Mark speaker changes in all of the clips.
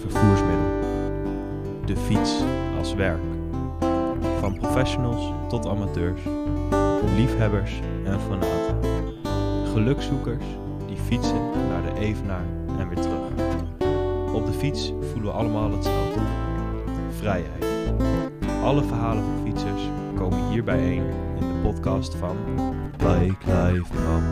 Speaker 1: vervoersmiddel. De fiets als werk. Van professionals tot amateurs, liefhebbers en fanaten. Gelukzoekers die fietsen naar de Evenaar en weer terug. Op de fiets voelen we allemaal hetzelfde. Vrijheid. Alle verhalen van fietsers komen hier bijeen in de podcast van Bike Life Mom.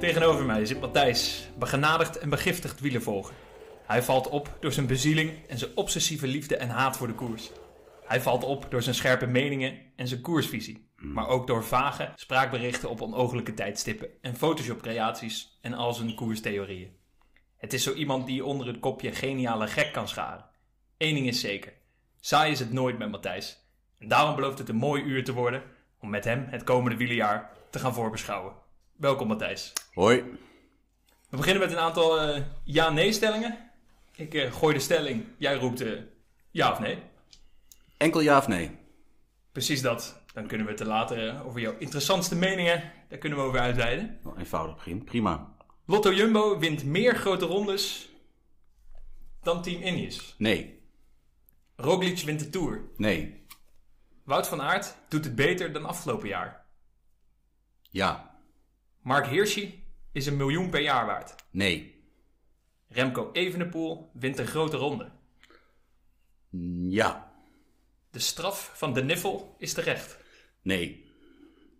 Speaker 2: Tegenover mij zit Matthijs, begenadigd en begiftigd wielervolger. Hij valt op door zijn bezieling en zijn obsessieve liefde en haat voor de koers. Hij valt op door zijn scherpe meningen en zijn koersvisie. Maar ook door vage spraakberichten op onogelijke tijdstippen en Photoshop-creaties en al zijn koerstheorieën. Het is zo iemand die je onder het kopje geniale gek kan scharen. Eén ding is zeker, saai is het nooit met Matthijs. En daarom belooft het een mooi uur te worden om met hem het komende wielerjaar te gaan voorbeschouwen. Welkom Matthijs.
Speaker 3: Hoi.
Speaker 2: We beginnen met een aantal eh, ja-nee-stellingen. Ik eh, gooi de stelling, jij roept eh, ja of nee.
Speaker 3: Enkel ja of nee?
Speaker 2: Precies dat. Dan kunnen we het er later eh, over jouw interessantste meningen, daar kunnen we over uitweiden.
Speaker 3: Wel eenvoudig, prima. prima.
Speaker 2: Lotto Jumbo wint meer grote rondes dan Team Ineos.
Speaker 3: Nee,
Speaker 2: Roglic wint de Tour.
Speaker 3: nee,
Speaker 2: Wout van Aert doet het beter dan afgelopen jaar.
Speaker 3: ja,
Speaker 2: Mark Hirschi is een miljoen per jaar waard.
Speaker 3: nee,
Speaker 2: Remco Evenepoel wint een grote ronde.
Speaker 3: ja,
Speaker 2: De straf van de Niffel is terecht.
Speaker 3: nee,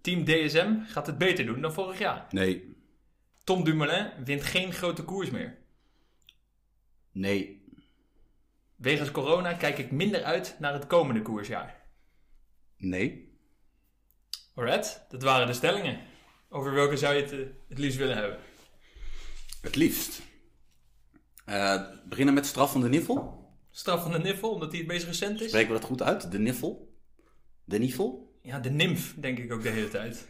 Speaker 2: Team DSM gaat het beter doen dan vorig jaar.
Speaker 3: nee,
Speaker 2: Tom Dumoulin wint geen grote koers meer.
Speaker 3: nee,
Speaker 2: Wegens corona kijk ik minder uit naar het komende koersjaar.
Speaker 3: nee.
Speaker 2: Alright, dat waren de stellingen. Over welke zou je het eh, het liefst willen hebben?
Speaker 3: Het liefst. Eh, beginnen met straf van de niffel.
Speaker 2: Straf van de Niffel, omdat die het meest recent is?
Speaker 3: Spreken we dat goed uit? De niffel? De niffel? Oké,
Speaker 2: Ja, de Nimf, denk ik ook de hele tijd.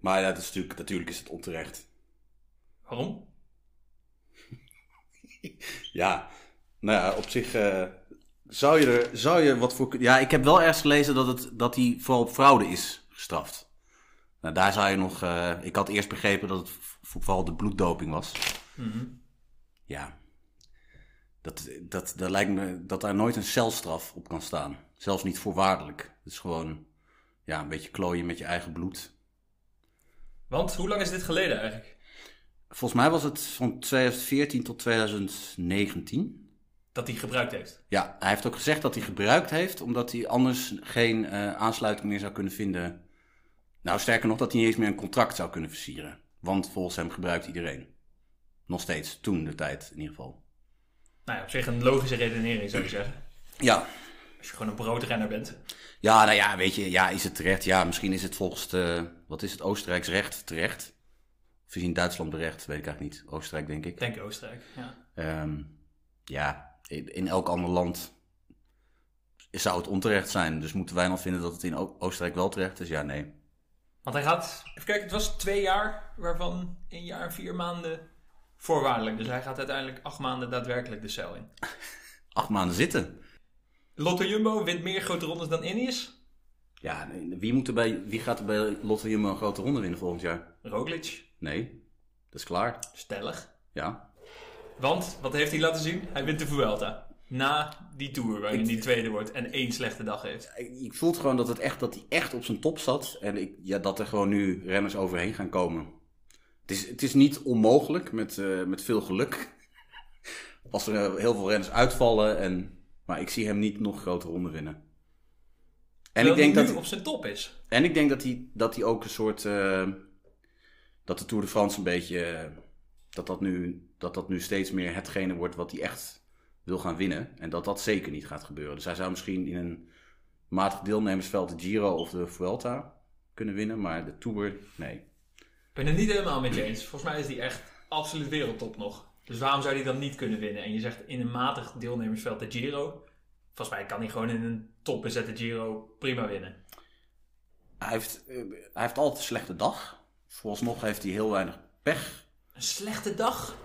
Speaker 3: maar ja, dat is natuurlijk, natuurlijk is het onterecht.
Speaker 2: Waarom?
Speaker 3: Ja, nou ja, op zich eh, zou, je er, zou je wat voor kun- Ja, ik heb wel ergens gelezen dat, het, dat hij vooral op fraude is gestraft. Nou, daar zou je nog... eh, ik had eerst begrepen dat het v- vooral de bloeddoping was. Ja. Dat, dat, dat lijkt me dat daar nooit een celstraf op kan staan. Zelfs niet voorwaardelijk. Het is gewoon ja, een beetje klooien met je eigen bloed.
Speaker 2: Want hoe lang is dit geleden eigenlijk?
Speaker 3: Volgens mij was het van 2014 tot 2019.
Speaker 2: Dat hij gebruikt heeft.
Speaker 3: Ja, hij heeft ook gezegd dat hij gebruikt heeft, omdat hij anders geen eh, aansluiting meer zou kunnen vinden. Nou, sterker nog, dat hij niet eens meer een contract zou kunnen versieren. Want volgens hem gebruikt iedereen. Nog steeds, toen de tijd in ieder geval.
Speaker 2: Nou ja, op zich een logische redenering zou je zeggen.
Speaker 3: Ja,
Speaker 2: Als je gewoon een broodrenner bent.
Speaker 3: ja nou ja, weet je, ja, is het terecht? Ja, misschien is het volgens de, wat is het, Oostenrijks recht terecht? Of is hij in Duitsland berecht? Weet ik eigenlijk niet. Oostenrijk, denk ik.
Speaker 2: Ik denk Oostenrijk, ja.
Speaker 3: Ehm, ja, in, in elk ander land zou het onterecht zijn. Dus moeten wij dan vinden dat het in O- Oostenrijk wel terecht is? Ja, nee.
Speaker 2: Want hij gaat, even kijken, het was twee jaar, waarvan een jaar en vier maanden voorwaardelijk. Dus hij gaat uiteindelijk acht maanden daadwerkelijk de cel in.
Speaker 3: Acht maanden zitten.
Speaker 2: Lotto Jumbo wint meer grote rondes dan Ineos.
Speaker 3: Ja, nee, wie, moet er bij, wie gaat er bij Lotte Jumbo een grote ronde winnen volgend jaar?
Speaker 2: Roglic,
Speaker 3: Nee, dat is klaar.
Speaker 2: stellig.
Speaker 3: Ja.
Speaker 2: Want, wat heeft hij laten zien? Hij wint de Vuelta. Na die Tour, waarin hij tweede wordt en één slechte dag heeft.
Speaker 3: Ik, ik voel het gewoon dat, het echt, dat hij echt op zijn top zat. En ik, ja, dat er gewoon nu renners overheen gaan komen. Het is, het is niet onmogelijk met, eh, met veel geluk. Als er eh, heel veel renners uitvallen. En, maar ik zie hem niet nog grote ronden winnen. En ik
Speaker 2: Terwijl
Speaker 3: denk
Speaker 2: hij
Speaker 3: dat.
Speaker 2: nu op zijn top is.
Speaker 3: En ik denk dat hij, dat hij ook een soort. eh, dat de Tour de France een beetje. eh, dat, dat, nu, dat dat nu steeds meer hetgene wordt wat hij echt wil gaan winnen. En dat dat zeker niet gaat gebeuren. Dus hij zou misschien in een matig deelnemersveld de Giro of de Vuelta kunnen winnen. Maar de Tour, nee.
Speaker 2: Ik ben het niet helemaal met je eens. Volgens mij is hij echt absoluut wereldtop nog. Dus waarom zou hij dan niet kunnen winnen? En je zegt in een matig deelnemersveld de Giro. Volgens mij kan hij gewoon in een topbezette Giro prima winnen.
Speaker 3: Hij heeft, eh, hij heeft altijd een slechte dag. Vooralsnog heeft hij heel weinig pech.
Speaker 2: Een slechte dag?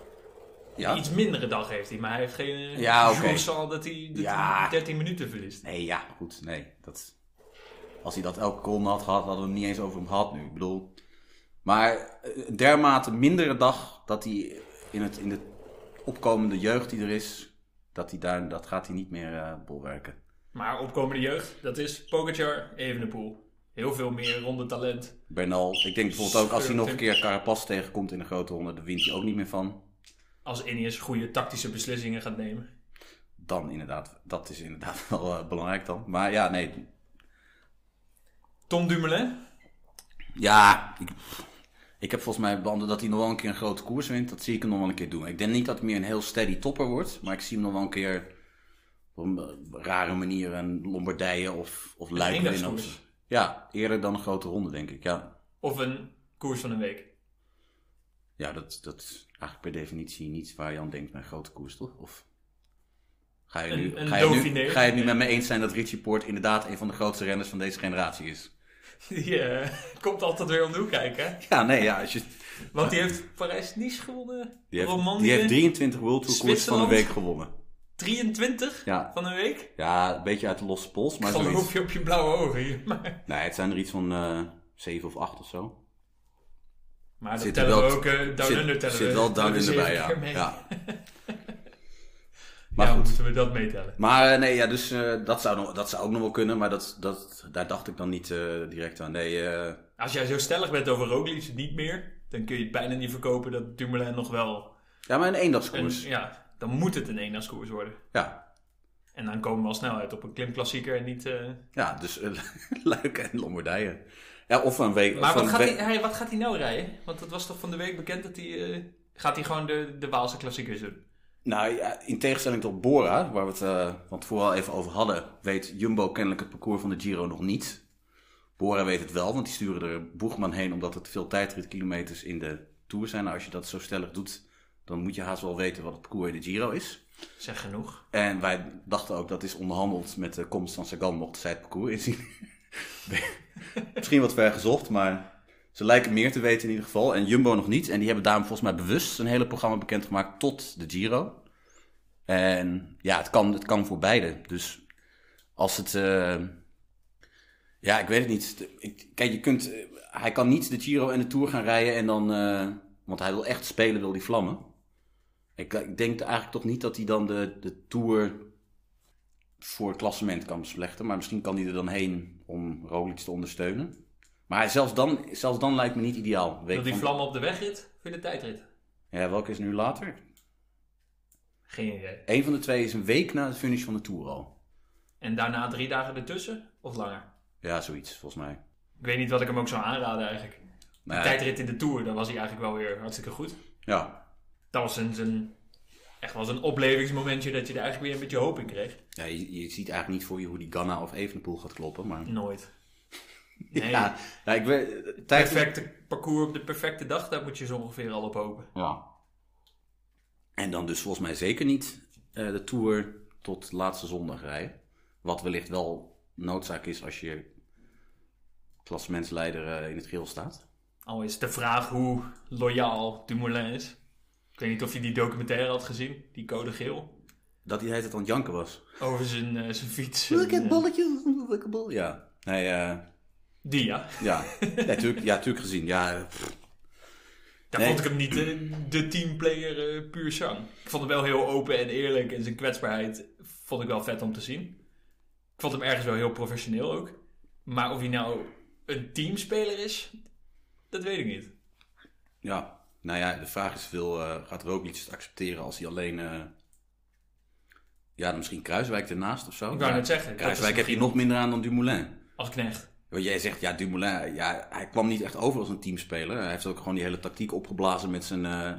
Speaker 3: Ja.
Speaker 2: Een iets mindere dag heeft hij, maar hij heeft geen eh,
Speaker 3: Ja, oké.
Speaker 2: kans al dat hij, dat
Speaker 3: Ja.
Speaker 2: hij 13 minuten verliest.
Speaker 3: Nee, ja, goed. Nee, dat... Als hij dat elke column had gehad, hadden we hem niet eens over hem gehad nu. Ik bedoel... Maar eh, een dermate mindere dag dat hij in, het, in de opkomende jeugd die er is, dat, hij daar, dat gaat hij niet meer eh, bolwerken.
Speaker 2: Maar opkomende jeugd, dat is Pogacar, Evenepoel. Heel veel meer ronde talent.
Speaker 3: Bernal, ik denk bijvoorbeeld ook als hij nog een keer Carapaz tegenkomt in een grote ronde, daar wint hij ook niet meer van.
Speaker 2: Als Ineos goede tactische beslissingen gaat nemen.
Speaker 3: Dan inderdaad, dat is inderdaad wel eh, belangrijk dan. Maar ja, nee.
Speaker 2: Tom Dumoulin,
Speaker 3: Ja, ik, ik heb volgens mij behandeld dat hij nog wel een keer een grote koers wint. Dat zie ik hem nog wel een keer doen. Ik denk niet dat hij meer een heel steady topper wordt. Maar ik zie hem nog wel een keer op een rare manier een Lombardije of, of Luik winnen.
Speaker 2: eendagskoers.
Speaker 3: of zo. Ja, eerder dan een grote ronde denk ik. Ja,
Speaker 2: of een koers van een week.
Speaker 3: ja dat, dat is eigenlijk per definitie niet waar Jan denkt naar grote koers, toch? Of... Ga je, nu,
Speaker 2: Een- een
Speaker 3: ga, je
Speaker 2: Dauphiné.
Speaker 3: nu, ga je het nu met me eens zijn dat Richie Poort inderdaad een van de grootste renners van deze generatie is?
Speaker 2: Die eh, komt altijd weer om de hoek kijken. hè?
Speaker 3: Ja, nee, ja. Als je,
Speaker 2: Want die heeft Parijs-Nice gewonnen.
Speaker 3: die, heeft,
Speaker 2: Romandie
Speaker 3: die heeft 23 World Tour koers van de
Speaker 2: Zwitserland.
Speaker 3: week gewonnen.
Speaker 2: 23
Speaker 3: Ja,
Speaker 2: van een week.
Speaker 3: Ja, een beetje uit de losse pols, maar
Speaker 2: Geloof
Speaker 3: zoiets.
Speaker 2: je op je blauwe ogen hier. Maar,
Speaker 3: Nee, het zijn er iets van eh 7 of 8 of zo.
Speaker 2: maar dat
Speaker 3: Zit er
Speaker 2: tellen we
Speaker 3: wel-
Speaker 2: ook. eh down
Speaker 3: zit,
Speaker 2: Under tellen
Speaker 3: zit
Speaker 2: we.
Speaker 3: wel down
Speaker 2: Tellen we
Speaker 3: under
Speaker 2: zeven
Speaker 3: bij, ja.
Speaker 2: keer mee.
Speaker 3: ja.
Speaker 2: Maar
Speaker 3: Maar goed.
Speaker 2: moeten we dat meetellen.
Speaker 3: Maar eh, nee, ja, dus eh, dat, zou nog, dat zou ook nog wel kunnen, maar dat, dat, daar dacht ik dan niet eh, direct aan. Nee, eh,
Speaker 2: Als jij zo stellig bent over Roglic niet meer, dan kun je het bijna niet verkopen dat Dumoulin nog wel...
Speaker 3: ja, maar een
Speaker 2: een-
Speaker 3: eendagskoers.
Speaker 2: ja, dan moet het een eendaagskoers worden.
Speaker 3: Ja.
Speaker 2: En dan komen we al snel uit op een klimklassieker en niet... eh,
Speaker 3: ja, dus eh, Luik en Lombardije. Ja, of een week.
Speaker 2: Maar
Speaker 3: of
Speaker 2: wat
Speaker 3: een
Speaker 2: gaat,
Speaker 3: week-
Speaker 2: hij, hij- wat gaat hij nou rijden? Want dat was toch van de week bekend dat hij... eh, gaat hij gewoon de, de Waalse klassiekers doen?
Speaker 3: Nou ja, in tegenstelling tot Bora, waar we het eh, van tevoren al even over hadden, weet Jumbo kennelijk het parcours van de Giro nog niet. Bora weet het wel, want die sturen er Boegman heen omdat het veel tijdritkilometers in de Tour zijn. Nou, als je dat zo stellig doet, dan moet je haast wel weten wat het parcours in de Giro is.
Speaker 2: Zeg genoeg.
Speaker 3: En wij dachten ook dat is onderhandeld met de komst van Sagan, mocht zij het parcours inzien. Misschien wat ver gezocht, maar ze lijken meer te weten in ieder geval. En Jumbo nog niet. En die hebben daarom volgens mij bewust een hele programma bekendgemaakt tot de Giro. En ja, het kan, het kan voor beide. Dus als het. eh, ja, ik weet het niet. Ik, kijk, je kunt, eh, hij kan niet de Giro en de Tour gaan rijden en dan. eh, want hij wil echt spelen, wil die vlammen. Ik, ik denk eigenlijk toch niet dat hij dan de, de Tour voor het klassement kan beslechten. Maar misschien kan hij er dan heen om Roglic te ondersteunen. Maar hij- zelfs dan, zelfs dan lijkt me niet ideaal. Week
Speaker 2: Wil die
Speaker 3: van-
Speaker 2: vlam op de wegrit of in de tijdrit?
Speaker 3: Ja, welke is nu later?
Speaker 2: Geen idee.
Speaker 3: Eén van de twee is een week na de finish van de Tour al.
Speaker 2: En daarna drie dagen ertussen? Of langer?
Speaker 3: Ja, zoiets, volgens mij.
Speaker 2: Ik weet niet wat ik hem ook zou aanraden eigenlijk. De
Speaker 3: Nee.
Speaker 2: tijdrit in de Tour, dan was hij eigenlijk wel weer hartstikke goed.
Speaker 3: Ja.
Speaker 2: Dat was een, een, echt wel een oplevingsmomentje dat je er eigenlijk weer een beetje hoop in kreeg.
Speaker 3: ja je, je ziet eigenlijk niet voor je hoe die Ganna of Evenepoel gaat kloppen, maar...
Speaker 2: Nooit. Nee,
Speaker 3: Ja, ja, ik weet... Tijd...
Speaker 2: perfecte parcours op de perfecte dag, daar moet je zo ongeveer al op hopen.
Speaker 3: Ja. En dan dus volgens mij zeker niet eh, de Tour tot laatste zondag rijden. Wat wellicht wel noodzaak is als je klassementsleider eh, in het geel staat.
Speaker 2: Al is de vraag hoe loyaal Dumoulin is. Ik weet niet of je die documentaire had gezien, die code geel.
Speaker 3: Dat hij heet het aan het janken was.
Speaker 2: Over zijn, eh, zijn fiets.
Speaker 3: Look
Speaker 2: en,
Speaker 3: at
Speaker 2: eh,
Speaker 3: bolletje, look at ball. Ja. Nee, eh,
Speaker 2: Die, ja.
Speaker 3: ja. ja, tuurlijk, ja, tuurlijk gezien. Ja, pff,
Speaker 2: Daar
Speaker 3: Nee.
Speaker 2: vond ik hem niet eh, de teamplayer eh, puur zang. Ik vond hem wel heel open en eerlijk en zijn kwetsbaarheid vond ik wel vet om te zien. Ik vond hem ergens wel heel professioneel ook. Maar of hij nou een teamspeler is, dat weet ik niet.
Speaker 3: ja. Nou ja, de vraag is veel, eh, gaat Roglic het accepteren als hij alleen... eh, ja, dan misschien Kruiswijk ernaast of zo.
Speaker 2: Ik wou net zeggen, dat is
Speaker 3: Kruiswijk heb je
Speaker 2: misschien-
Speaker 3: nog minder aan dan Dumoulin.
Speaker 2: Als knecht.
Speaker 3: Want jij zegt, ja, Dumoulin, ja, hij kwam niet echt over als een teamspeler. Hij heeft ook gewoon die hele tactiek opgeblazen met zijn, eh,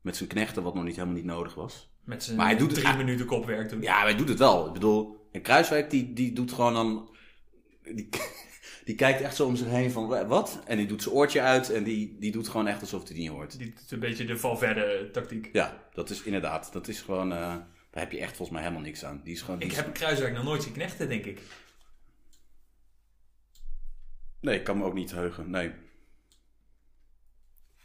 Speaker 3: met zijn knechten, wat nog niet helemaal niet nodig was.
Speaker 2: Met zijn
Speaker 3: Maar hij doet het
Speaker 2: drie
Speaker 3: a-
Speaker 2: minuten kopwerk doen.
Speaker 3: Ja, hij doet het wel. Ik bedoel, en Kruiswijk, die, die doet gewoon dan... Die, die kijkt echt zo om zich heen van, "Wa- wat? En die doet zijn oortje uit en die, die doet gewoon echt alsof hij het niet hoort.
Speaker 2: Die doet een beetje de Valverde tactiek.
Speaker 3: Ja, dat is inderdaad, dat is gewoon... eh, daar heb je echt volgens mij helemaal niks aan. Die is gewoon... die
Speaker 2: Ik
Speaker 3: is-
Speaker 2: heb Kruiswijk nog nooit zien knechten, denk ik.
Speaker 3: Nee, ik kan me ook niet heugen, nee.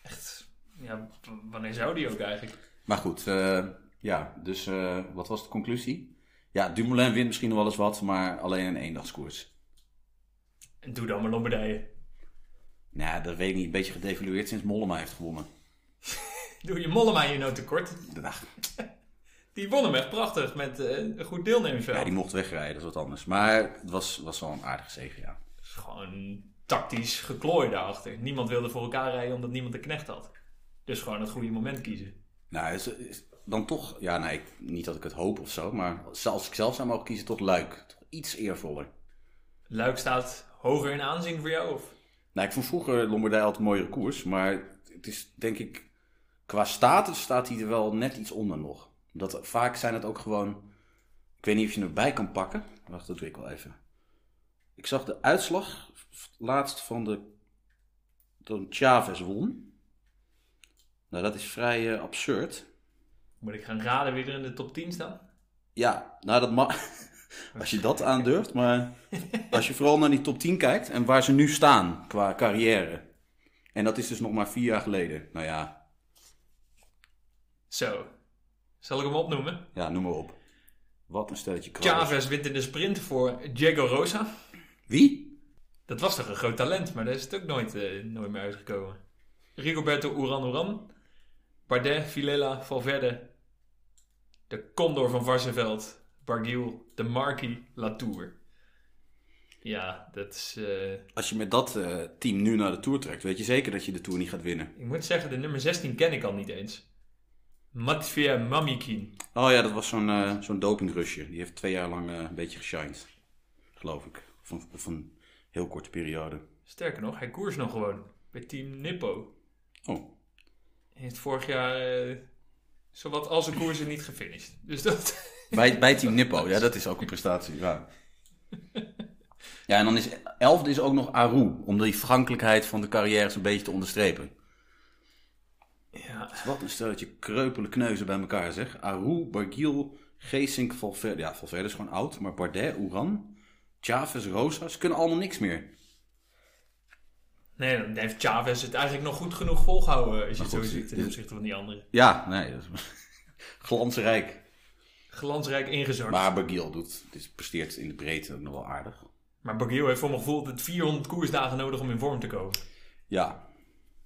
Speaker 2: Echt, ja, w- wanneer zou die ook eigenlijk?
Speaker 3: Maar goed, eh, ja, dus eh, wat was de conclusie? Ja, Dumoulin wint misschien nog wel eens wat, maar alleen een eendagskoers.
Speaker 2: En doe dan maar Lombardije.
Speaker 3: Nou, dat weet ik niet. Een beetje gedevalueerd sinds Mollema heeft gewonnen.
Speaker 2: Doe je Mollema hier nou tekort?
Speaker 3: Nou,
Speaker 2: Die won hem echt prachtig met eh, een goed deelnemersveld.
Speaker 3: ja, die mocht wegrijden, dat is wat anders. Maar het was, was wel een aardige zege, ja.
Speaker 2: Het is Gewoon tactisch geklooi daarachter. Niemand wilde voor elkaar rijden omdat niemand een knecht had. Dus gewoon het goede moment kiezen.
Speaker 3: Nou, is, is dan toch... Ja, nee, ik- niet dat ik het hoop of zo, maar als ik zelf zou mogen kiezen, toch Luik. Toch iets eervoller.
Speaker 2: Luik staat hoger in aanzien voor jou of?
Speaker 3: Nou, ik vond vroeger Lombardij altijd een mooiere koers, maar het is denk ik qua status staat hij er wel net iets onder nog. Dat, vaak zijn het ook gewoon, ik weet niet of je hem erbij kan pakken. Wacht, dat doe ik wel even. Ik zag de uitslag laatst van de toen Chavez won. Nou, dat is vrij eh, absurd.
Speaker 2: Moet ik gaan raden wie er in de top 10 staat?
Speaker 3: Ja, nou dat mag. Als je dat aandurft, maar als je vooral naar die top 10 kijkt en waar ze nu staan qua carrière. En dat is dus nog maar vier jaar geleden. Nou ja,
Speaker 2: Zo. Zal ik hem opnoemen?
Speaker 3: ja noem maar op. Wat een stelletje krabbers.
Speaker 2: Chavez wint in de sprint voor Diego Rosa.
Speaker 3: Wie?
Speaker 2: Dat was toch een groot talent, maar daar is het ook nooit, eh, nooit meer uitgekomen. Rigoberto Uran Uran, Bardet, Vilela, Valverde, de Condor van Varsenveld, Bargiel, de Marquis, Latour. Ja, dat is... eh,
Speaker 3: Als je met dat eh, team nu naar de Tour trekt, weet je zeker dat je de Tour niet gaat winnen.
Speaker 2: ik moet zeggen, de nummer 16 ken ik al niet eens. Matvey Mamikin.
Speaker 3: Oh ja, dat was zo'n eh, zo'n dopingrusje. Die heeft twee jaar lang eh, een beetje geshined. Geloof ik. Of een, of een heel korte periode.
Speaker 2: Sterker nog, hij koers nog gewoon bij Team Nippo.
Speaker 3: Oh,
Speaker 2: Hij heeft vorig jaar eh, zowat al zijn koersen niet gefinished. Dus dat...
Speaker 3: Bij, bij Team Nippo, ja, dat is ook een prestatie. Ja, ja en dan is elfde is ook nog Aru, om die vergankelijkheid van de carrière een beetje te onderstrepen.
Speaker 2: Ja,
Speaker 3: Wat een stelletje kreupele kneuzen bij elkaar, zeg. Aru, Bargiel, Geesink, Valverde. Ja, Valverde is gewoon oud, maar Bardet, Oeran, Chavez, Rosa, ze kunnen allemaal niks meer.
Speaker 2: Nee, dan heeft Chavez het eigenlijk nog goed genoeg volgehouden. eh, Als je het
Speaker 3: goed,
Speaker 2: zo ziet ten
Speaker 3: dit-
Speaker 2: opzichte van die anderen.
Speaker 3: Ja, nee, dat is glansrijk.
Speaker 2: Glansrijk ingezakt. Maar,
Speaker 3: Maar Bargiel doet, dus presteert in de breedte ook nog wel aardig.
Speaker 2: maar Barguil heeft voor mijn gevoel het 400 koersdagen nodig om in vorm te komen.
Speaker 3: Ja,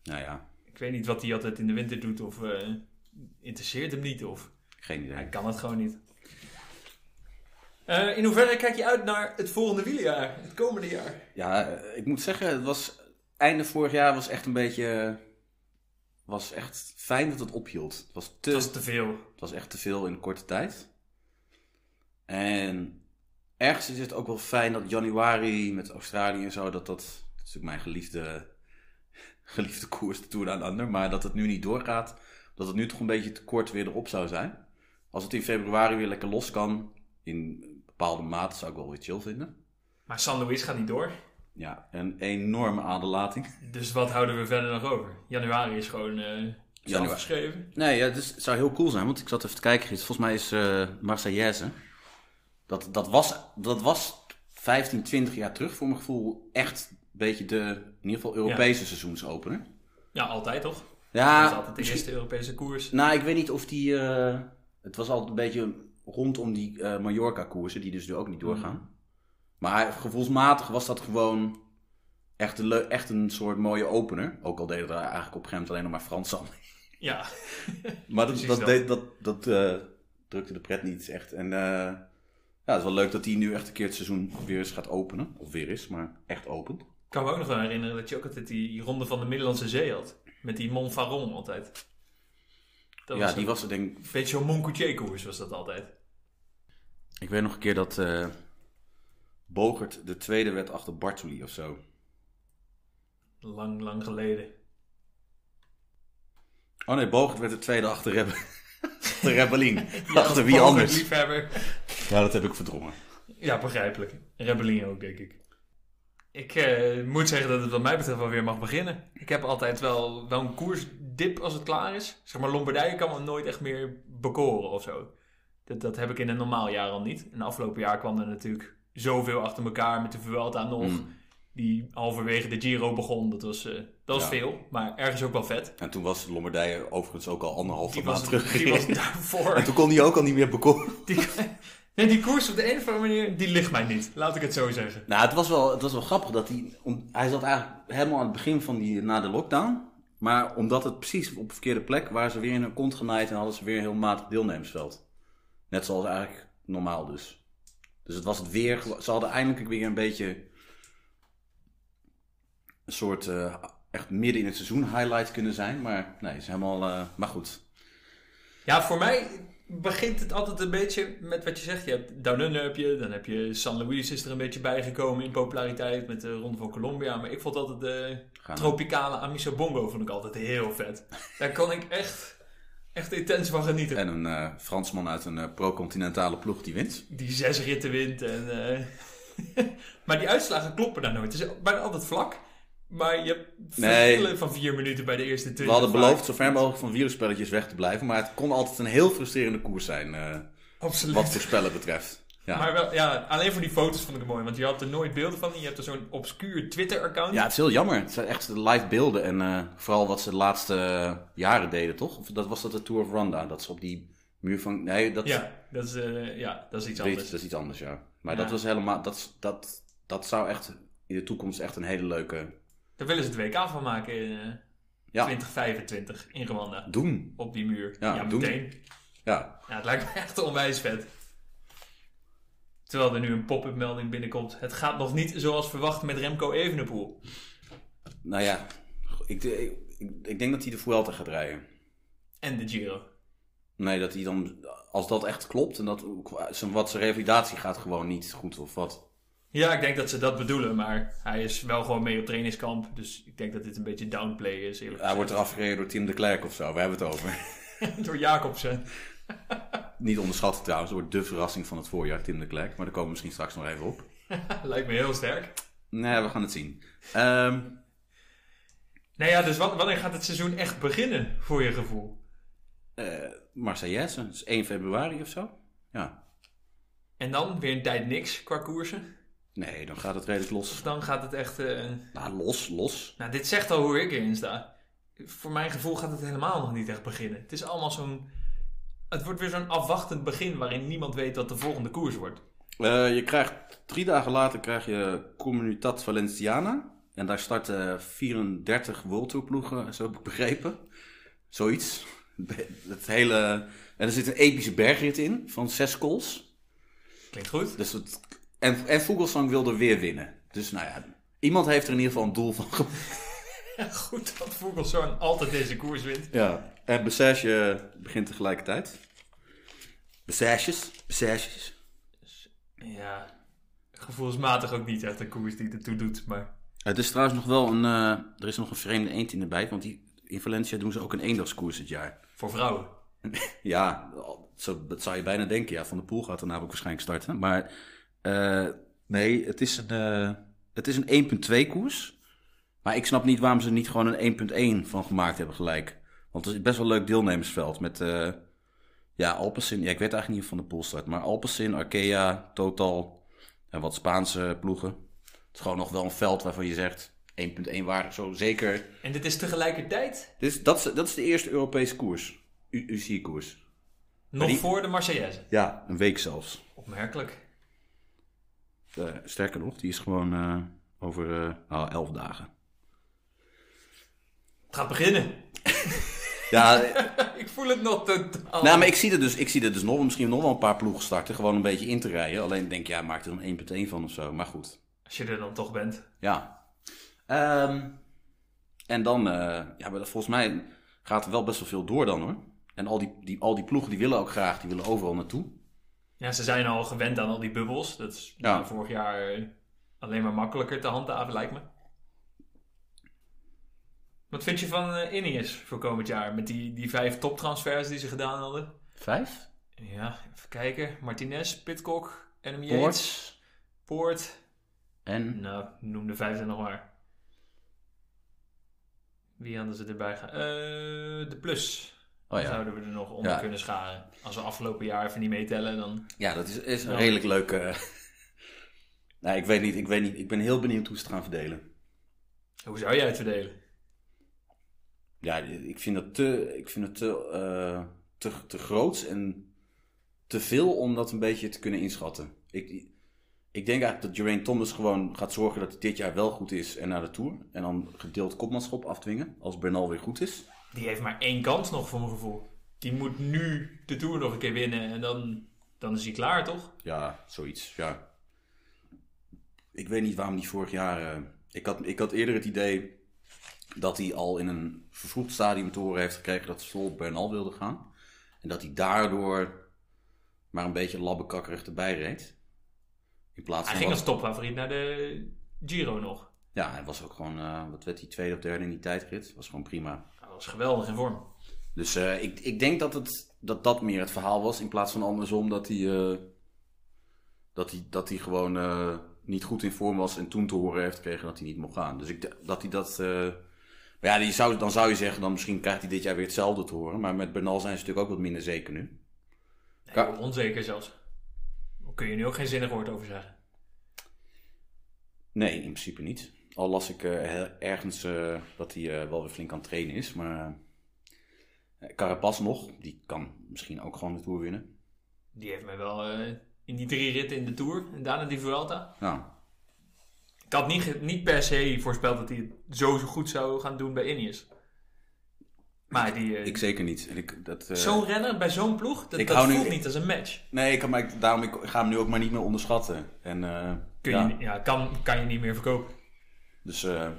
Speaker 3: nou ja,
Speaker 2: Ik weet niet wat hij altijd in de winter doet. Of eh, interesseert hem niet. Of
Speaker 3: geen idee.
Speaker 2: hij kan het gewoon niet. Eh, in hoeverre kijk je uit naar het volgende wieljaar? Het komende jaar?
Speaker 3: Ja, eh, ik moet zeggen, het was einde vorig jaar was echt een beetje was echt fijn dat het ophield. Het was te
Speaker 2: Dat is te veel.
Speaker 3: het was echt te veel in een korte tijd. En ergens is het ook wel fijn dat januari met Australië en zo dat dat, dat is natuurlijk mijn geliefde geliefde koers de Tour aan de ander, maar dat het nu niet doorgaat, dat het nu toch een beetje te kort weer erop zou zijn. Als het in februari weer lekker los kan in bepaalde mate zou ik wel weer chill vinden.
Speaker 2: Maar San Luis gaat niet door.
Speaker 3: Ja, een enorme aderlating.
Speaker 2: Dus wat houden we verder nog over? Januari is gewoon eh is
Speaker 3: Januari.
Speaker 2: afgeschreven.
Speaker 3: Nee, ja, dus het zou heel cool zijn, want ik zat even te kijken gisteren. Volgens mij is eh Marseillaise. Dat, dat, was, dat was 15, 20 jaar terug voor mijn gevoel echt een beetje de, in ieder geval, Europese seizoensopener.
Speaker 2: Ja, altijd toch? dat is
Speaker 3: Ja,
Speaker 2: altijd de eerste Europese koers.
Speaker 3: nou, ik weet niet of die. eh, het was altijd een beetje rondom die eh, Mallorca-koersen, die dus nu ook niet
Speaker 2: Mhm.
Speaker 3: doorgaan. Maar gevoelsmatig was dat gewoon echt een, leu- echt een soort mooie opener. Ook al deden er eigenlijk op een gegeven moment alleen nog maar Frans aan
Speaker 2: Ja.
Speaker 3: Maar dat,
Speaker 2: Precies
Speaker 3: dat,
Speaker 2: dat.
Speaker 3: deed- dat, dat eh, drukte de pret niet echt. En eh, ja, het is wel leuk dat hij nu echt een keer het seizoen weer eens gaat openen. Of weer is, maar echt opent.
Speaker 2: Ik kan me ook nog wel herinneren dat je ook altijd die ronde van de Middellandse Zee had. Met die Mont Faron altijd. Dat
Speaker 3: ja,
Speaker 2: was
Speaker 3: die
Speaker 2: een
Speaker 3: was er denk ik...
Speaker 2: beetje zo'n Moncoutier-koers was dat altijd.
Speaker 3: Ik weet nog een keer dat eh, Bogert de tweede werd achter Bartoli of zo.
Speaker 2: Lang, lang geleden.
Speaker 3: Oh nee, Bogert werd de tweede achter Rebbe. achter Rebellin.
Speaker 2: Ja,
Speaker 3: achter
Speaker 2: als
Speaker 3: wie
Speaker 2: Polen
Speaker 3: anders?
Speaker 2: liefhebber.
Speaker 3: Ja, dat heb ik verdrongen.
Speaker 2: Ja, begrijpelijk. Rebellin ook, denk ik. Ik eh, moet zeggen dat het wat mij betreft wel weer mag beginnen. Ik heb altijd wel, wel een koersdip als het klaar is. Zeg maar, Lombardije kan me nooit echt meer bekoren of zo. Dat, dat heb ik in een
Speaker 3: Hmm.
Speaker 2: normaal jaar al niet. En afgelopen jaar kwam er natuurlijk zoveel achter elkaar met de Vuelta nog. Die halverwege de Giro begon. Dat was, eh, dat was
Speaker 3: Ja.
Speaker 2: veel, maar ergens ook wel vet.
Speaker 3: En toen was Lombardije overigens ook al anderhalve
Speaker 2: Die
Speaker 3: maand
Speaker 2: was,
Speaker 3: terug.
Speaker 2: die was daarvoor.
Speaker 3: En toen kon hij ook al niet meer bekomen.
Speaker 2: Die, nee, die koers op de een of andere manier, die ligt mij niet. Laat ik het zo zeggen.
Speaker 3: Nou, het was wel, het was wel grappig dat hij. om- hij zat eigenlijk helemaal aan het begin van die. na de lockdown. Maar omdat het precies op de verkeerde plek. waren ze weer in hun kont genaaid. en hadden ze weer een heel matig deelnemersveld. Net zoals eigenlijk normaal dus. Dus het was het weer. Ze hadden eindelijk weer een beetje. een soort. eh, echt midden in het seizoen highlight kunnen zijn. Maar nee, is helemaal. eh, maar goed.
Speaker 2: Ja, voor mij begint het altijd een beetje met wat je zegt. Je hebt Down Under heb je, dan heb je San Luis is er een beetje bijgekomen in populariteit met de Ronde van Colombia. Maar ik vond altijd de
Speaker 3: Gaan we.
Speaker 2: tropicale Amiso Bongo vond ik altijd heel vet. Daar kon ik echt, echt intens van genieten.
Speaker 3: En een eh, Fransman uit een eh, pro-continentale ploeg die wint.
Speaker 2: die zes ritten wint. En, eh, maar die uitslagen kloppen daar nooit. Het is bijna altijd vlak. Maar je hebt
Speaker 3: Nee.
Speaker 2: verschillen van vier minuten bij de eerste
Speaker 3: We
Speaker 2: twintig.
Speaker 3: hadden beloofd zo ver mogelijk van wielerspelletjes weg te blijven, maar het kon altijd een heel frustrerende koers zijn, eh,
Speaker 2: Absoluut.
Speaker 3: wat voorspellen betreft. Ja.
Speaker 2: Maar wel, ja, alleen voor die foto's vond ik het mooi. Want je had er nooit beelden van. en Je hebt er zo'n obscuur Twitter-account.
Speaker 3: ja, het is heel jammer. Het zijn echt live beelden en eh, vooral wat ze de laatste eh, jaren deden, toch? Of dat was dat de Tour of Rwanda, dat ze op die muur van... Nee, dat,
Speaker 2: Ja, dat is, eh, ja, dat is iets
Speaker 3: dat, is,
Speaker 2: anders.
Speaker 3: dat is iets anders, ja. Maar
Speaker 2: Ja.
Speaker 3: dat was helemaal... Dat, is- dat, dat zou echt in de toekomst echt een hele leuke...
Speaker 2: Daar willen ze het WK van maken in eh,
Speaker 3: Ja,
Speaker 2: 2025 in Rwanda.
Speaker 3: doen.
Speaker 2: Op die muur.
Speaker 3: Ja,
Speaker 2: Ja,
Speaker 3: doen.
Speaker 2: meteen.
Speaker 3: Ja,
Speaker 2: Ja, het lijkt me echt onwijs vet. Terwijl er nu een pop-up melding binnenkomt. Het gaat nog niet zoals verwacht met Remco Evenepoel.
Speaker 3: nou ja, ik, ik, ik denk dat hij de Vuelta gaat rijden.
Speaker 2: En de Giro.
Speaker 3: Nee, dat hij dan, als dat echt klopt en dat zijn, wat zijn revalidatie gaat gewoon niet goed of wat.
Speaker 2: Ja, ik denk dat ze dat bedoelen. Maar hij is wel gewoon mee op trainingskamp. Dus ik denk dat dit een beetje downplay is. Eerlijk
Speaker 3: Hij wordt
Speaker 2: gezegd.
Speaker 3: eraf gereden door Tim de Klerk of zo, we hebben het over.
Speaker 2: Door Jacobsen.
Speaker 3: niet onderschatten trouwens, wordt de verrassing van het voorjaar, Tim de Klerk. Maar daar komen we misschien straks nog even op.
Speaker 2: Lijkt me heel sterk.
Speaker 3: Nee, we gaan het zien. Ehm,
Speaker 2: Nou ja, dus wan- wanneer gaat het seizoen echt beginnen, voor je gevoel?
Speaker 3: eh Marseillaise, dat is 1 februari of zo. Ja.
Speaker 2: En dan weer een tijd niks qua koersen.
Speaker 3: Nee, dan gaat het redelijk los.
Speaker 2: Of dan gaat het echt... eh,
Speaker 3: Nou, los, los.
Speaker 2: Nou, dit zegt al hoe ik erin sta. Voor mijn gevoel gaat het helemaal nog niet echt beginnen. Het is allemaal zo'n... Het wordt weer zo'n afwachtend begin waarin niemand weet wat de volgende koers wordt.
Speaker 3: Eh, je krijgt, drie dagen later krijg je Comunitat Valenciana. En daar starten 34 World Tour ploegen, zo heb ik begrepen. Zoiets. Het hele... En er zit een epische bergrit in van zes calls.
Speaker 2: Klinkt goed.
Speaker 3: Dus het... En, en Vogelsang wilde weer winnen. Dus nou ja, iemand heeft er in ieder geval een doel van gemaakt.
Speaker 2: Goed dat Vogelsang altijd deze koers wint.
Speaker 3: Ja. En Bessage begint tegelijkertijd. Bessages? Bessages?
Speaker 2: Ja, gevoelsmatig ook niet echt een koers die ertoe doet, maar...
Speaker 3: Het is trouwens nog wel een... eh, er is nog een vreemde eend in de bijt, want die, in Valencia doen ze ook een eendagskoers dit jaar.
Speaker 2: Voor vrouwen.
Speaker 3: Ja, zo, dat zou je bijna denken. Ja, Van de Poel gaat er namelijk waarschijnlijk starten. Maar eh, nee, het is een, eh, het is een 1.2 koers. Maar ik snap niet waarom ze er niet gewoon een 1.1 van gemaakt hebben gelijk. Want het is best wel een leuk deelnemersveld met... eh, ja, Alpecin. Ja, ik weet eigenlijk niet of Van de Poel start. Maar Alpecin, Arkea, Total en wat Spaanse ploegen. Het is gewoon nog wel een veld waarvan je zegt... 1.1 waardig, zo zeker.
Speaker 2: En dit is tegelijkertijd
Speaker 3: Dit is, dat, is, dat is de eerste Europese koers. UC-koers.
Speaker 2: nog
Speaker 3: die-
Speaker 2: voor de Marseillaise.
Speaker 3: Ja, een week zelfs.
Speaker 2: Opmerkelijk.
Speaker 3: Eh, sterker nog, die is gewoon eh, over eh, nou, elf dagen.
Speaker 2: Het gaat beginnen.
Speaker 3: Ja, eh,
Speaker 2: Ik voel het nog totaal.
Speaker 3: nou, maar ik zie er dus, ik zie er dus nog, misschien nog wel een paar ploegen starten. Gewoon een beetje in te rijden. Alleen denk ja, maak er een 1.1 van of zo. Maar goed,
Speaker 2: Als je er dan toch bent.
Speaker 3: ja. Ehm, en dan, eh, ja, maar dat- volgens mij gaat er wel best wel veel door dan hoor. En al die, die, al die ploegen die willen ook graag, die willen overal naartoe.
Speaker 2: Ja, ze zijn al gewend aan al die bubbels. Dat is
Speaker 3: Ja.
Speaker 2: na vorig jaar eh, alleen maar makkelijker te handhaven, lijkt me. Wat vind je van eh Ineos voor komend jaar? Met die, die vijf toptransfers die ze gedaan hadden.
Speaker 3: Vijf?
Speaker 2: Ja, even kijken. Martinez, Pitcock, Adam Yates,
Speaker 3: Poort.
Speaker 2: Poort.
Speaker 3: En
Speaker 2: Nou, noem de vijfde nog maar. Wie hadden ze erbij gaan? Eh, de plus.
Speaker 3: oh
Speaker 2: Dan
Speaker 3: ja.
Speaker 2: zouden we er nog onder
Speaker 3: Ja.
Speaker 2: kunnen scharen. Als we afgelopen jaar even niet meetellen, dan...
Speaker 3: Ja, dat is, is een
Speaker 2: Ja.
Speaker 3: redelijk leuke. eh, Nou, ik weet niet. Ik weet niet. Ik ben heel benieuwd hoe ze het gaan verdelen.
Speaker 2: Hoe zou jij het verdelen?
Speaker 3: Ja, ik vind het te, ik vind het te, eh, te, te groots en te veel om dat een beetje te kunnen inschatten. Ik, ik denk eigenlijk dat Geraint Thomas gewoon gaat zorgen dat hij dit jaar wel goed is en naar de Tour. En dan gedeeld kopmanschap afdwingen als Bernal weer goed is.
Speaker 2: Die heeft maar één kans nog, voor mijn gevoel. Die moet nu de Tour nog een keer winnen en dan, dan is hij klaar, toch?
Speaker 3: Ja, zoiets, ja. Ik weet niet waarom die vorig jaar... eh, ik, had, ik had eerder het idee dat hij al in een vervroegd stadium te horen heeft gekregen dat Sol Bernal wilde gaan. En dat hij daardoor maar een beetje labbekakkerig erbij reed. In plaats
Speaker 2: Hij
Speaker 3: van...
Speaker 2: ging
Speaker 3: wat-
Speaker 2: als topfavoriet naar de Giro nog.
Speaker 3: Ja, hij was ook gewoon... eh, wat werd hij? Tweede of derde in die tijdrit? Was gewoon prima.
Speaker 2: Dat was geweldig in vorm.
Speaker 3: Dus eh, ik, ik denk dat, het, dat dat meer het verhaal was. In plaats van andersom dat hij, eh, dat hij, dat hij gewoon eh, niet goed in vorm was. En toen te horen heeft gekregen dat hij niet mocht gaan. Dus ik, d- dat hij dat. eh, maar ja, die zou, dan zou je zeggen, dan misschien krijgt hij dit jaar weer hetzelfde te horen. Maar met Bernal zijn ze natuurlijk ook wat minder zeker nu. Ka-
Speaker 2: Heel Onzeker zelfs. Daar kun je nu ook geen zinnig woord over zeggen.
Speaker 3: Nee, in principe niet. Al las ik eh, her- ergens eh, dat hij eh, wel weer flink aan het trainen is. Maar eh Carapaz nog, die kan misschien ook gewoon de Tour winnen.
Speaker 2: Die heeft mij wel eh, in die drie ritten in de Tour en daarna die Vuelta.
Speaker 3: Nou,
Speaker 2: Ik had niet, ge- niet per se voorspeld dat hij het zo, zo goed zou gaan doen bij Ineos. Maar die, eh,
Speaker 3: ik zeker niet. En ik, dat, eh,
Speaker 2: zo'n renner bij zo'n ploeg, dat,
Speaker 3: Ik
Speaker 2: dat
Speaker 3: hou nu-
Speaker 2: voelt niet als een match.
Speaker 3: Nee, ik, kan- maar ik, daarom ik ga hem nu ook maar niet meer onderschatten. En, eh,
Speaker 2: Kun
Speaker 3: ja,
Speaker 2: Je, ja, kan, kan je niet meer verkopen.
Speaker 3: Dus eh,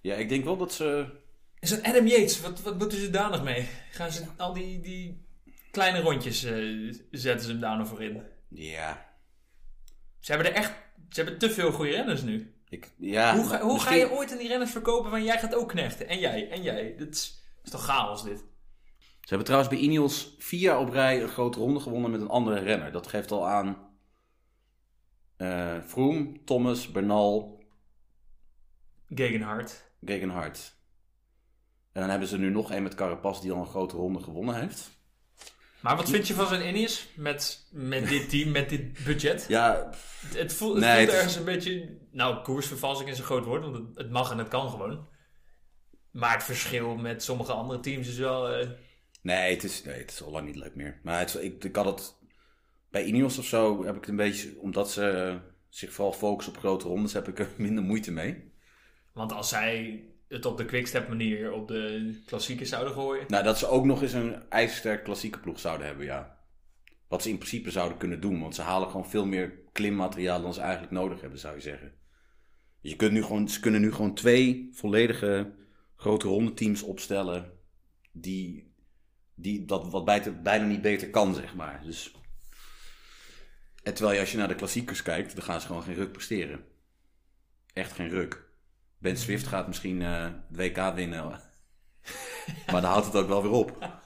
Speaker 3: ja, ik denk wel dat ze...
Speaker 2: Is dat Adam Yates? Wat, wat moeten ze daar nog mee? Gaan ze al die, die kleine rondjes eh, zetten ze hem daar nog voor in?
Speaker 3: Ja,
Speaker 2: Ze hebben er echt ze hebben te veel goede renners nu.
Speaker 3: ik, ja
Speaker 2: Hoe, ga, hoe
Speaker 3: misschien-
Speaker 2: ga je ooit aan dus die renners verkopen van jij gaat ook knechten? En jij, en jij. Dat is, is toch chaos dit?
Speaker 3: Ze hebben trouwens bij Ineos vier jaar op rij een grote ronde gewonnen met een andere renner. Dat geeft al aan eh Froome, Thomas, Bernal,
Speaker 2: Gegenhard.
Speaker 3: Gegenhardt. En dan hebben ze nu nog één met Carapaz die al een grote ronde gewonnen heeft.
Speaker 2: Maar wat vind je van zo'n Ineos met, met dit team, met dit budget?
Speaker 3: Ja,
Speaker 2: Het voelt, het
Speaker 3: Nee,
Speaker 2: voelt
Speaker 3: het is-
Speaker 2: ergens een beetje... Nou, koersvervalsing is een groot woord, want het, het mag en het kan gewoon. Maar het verschil met sommige andere teams is wel... eh,
Speaker 3: Nee, het is, nee, het is al lang niet leuk meer. Maar het, is- ik, ik had het bij Ineos of zo, heb ik het een beetje, omdat ze eh, zich vooral focussen op grote rondes, heb ik er minder moeite mee.
Speaker 2: Want als zij het op de quickstep manier op de klassieke zouden gooien.
Speaker 3: Nou, dat ze ook nog eens een ijzersterk klassieke ploeg zouden hebben, ja. Wat ze in principe zouden kunnen doen, want ze halen gewoon veel meer klimmateriaal dan ze eigenlijk nodig hebben, zou je zeggen. Dus Je kunt nu gewoon, ze kunnen nu gewoon twee volledige grote rondeteams opstellen, die, die dat wat bijna, bijna niet beter kan, zeg maar. Dus En terwijl je als je naar de klassiekers kijkt, dan gaan ze gewoon geen ruk presteren. Echt geen ruk. Ben Swift gaat misschien eh, het WK winnen. maar dan houdt het ook wel weer op.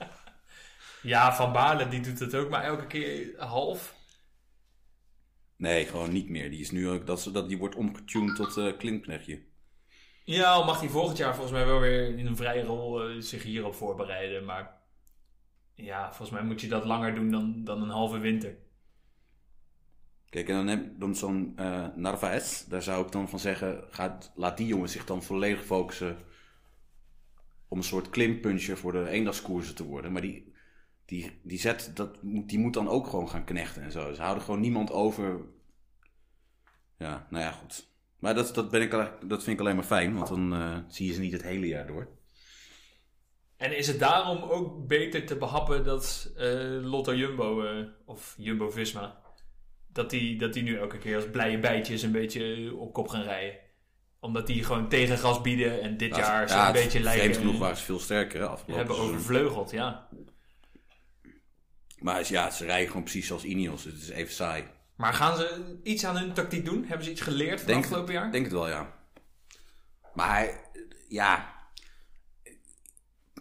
Speaker 2: Ja, Van Baarle die doet het ook maar elke keer half.
Speaker 3: Nee, gewoon niet meer. Die, is nu ook, dat, ze- dat, die wordt omgetuned tot eh klimknechtje.
Speaker 2: Ja, al mag hij volgend jaar volgens mij wel weer in een vrije rol eh, zich hierop voorbereiden. Maar ja, volgens mij moet je dat langer doen dan, dan een halve winter.
Speaker 3: Kijk, en dan heb dan zo'n eh Narvaez. Daar zou ik dan van zeggen, gaat, laat die jongen zich dan volledig focussen... om een soort klimpuncher voor de eendagskoersen te worden. Maar die, die, die, zet, dat, moet- die moet dan ook gewoon gaan knechten en zo. Ze houden gewoon niemand over. Ja, nou ja, goed. Maar dat, dat, ben ik, al- dat vind ik alleen maar fijn, want dan eh, zie je ze niet het hele jaar door.
Speaker 2: En is het daarom ook beter te behappen dat eh, Lotto Jumbo eh, of Jumbo Visma. Dat die, dat die nu elke keer als blije bijtjes een beetje eh, op kop gaan rijden. Omdat die gewoon tegengas bieden en dit jaar ze
Speaker 3: Ja,
Speaker 2: een
Speaker 3: het-
Speaker 2: beetje
Speaker 3: Vreemd
Speaker 2: lijken.
Speaker 3: genoeg waren ze veel sterker hè, afgelopen
Speaker 2: hebben
Speaker 3: seizoen.
Speaker 2: overvleugeld, ja.
Speaker 3: Maar ja, ze rijden gewoon precies als Ineos. Het is even saai.
Speaker 2: Maar gaan ze iets aan hun tactiek doen? Hebben ze iets geleerd van
Speaker 3: Denk-
Speaker 2: afgelopen jaar?
Speaker 3: Denk het wel, ja. Maar hij, ja.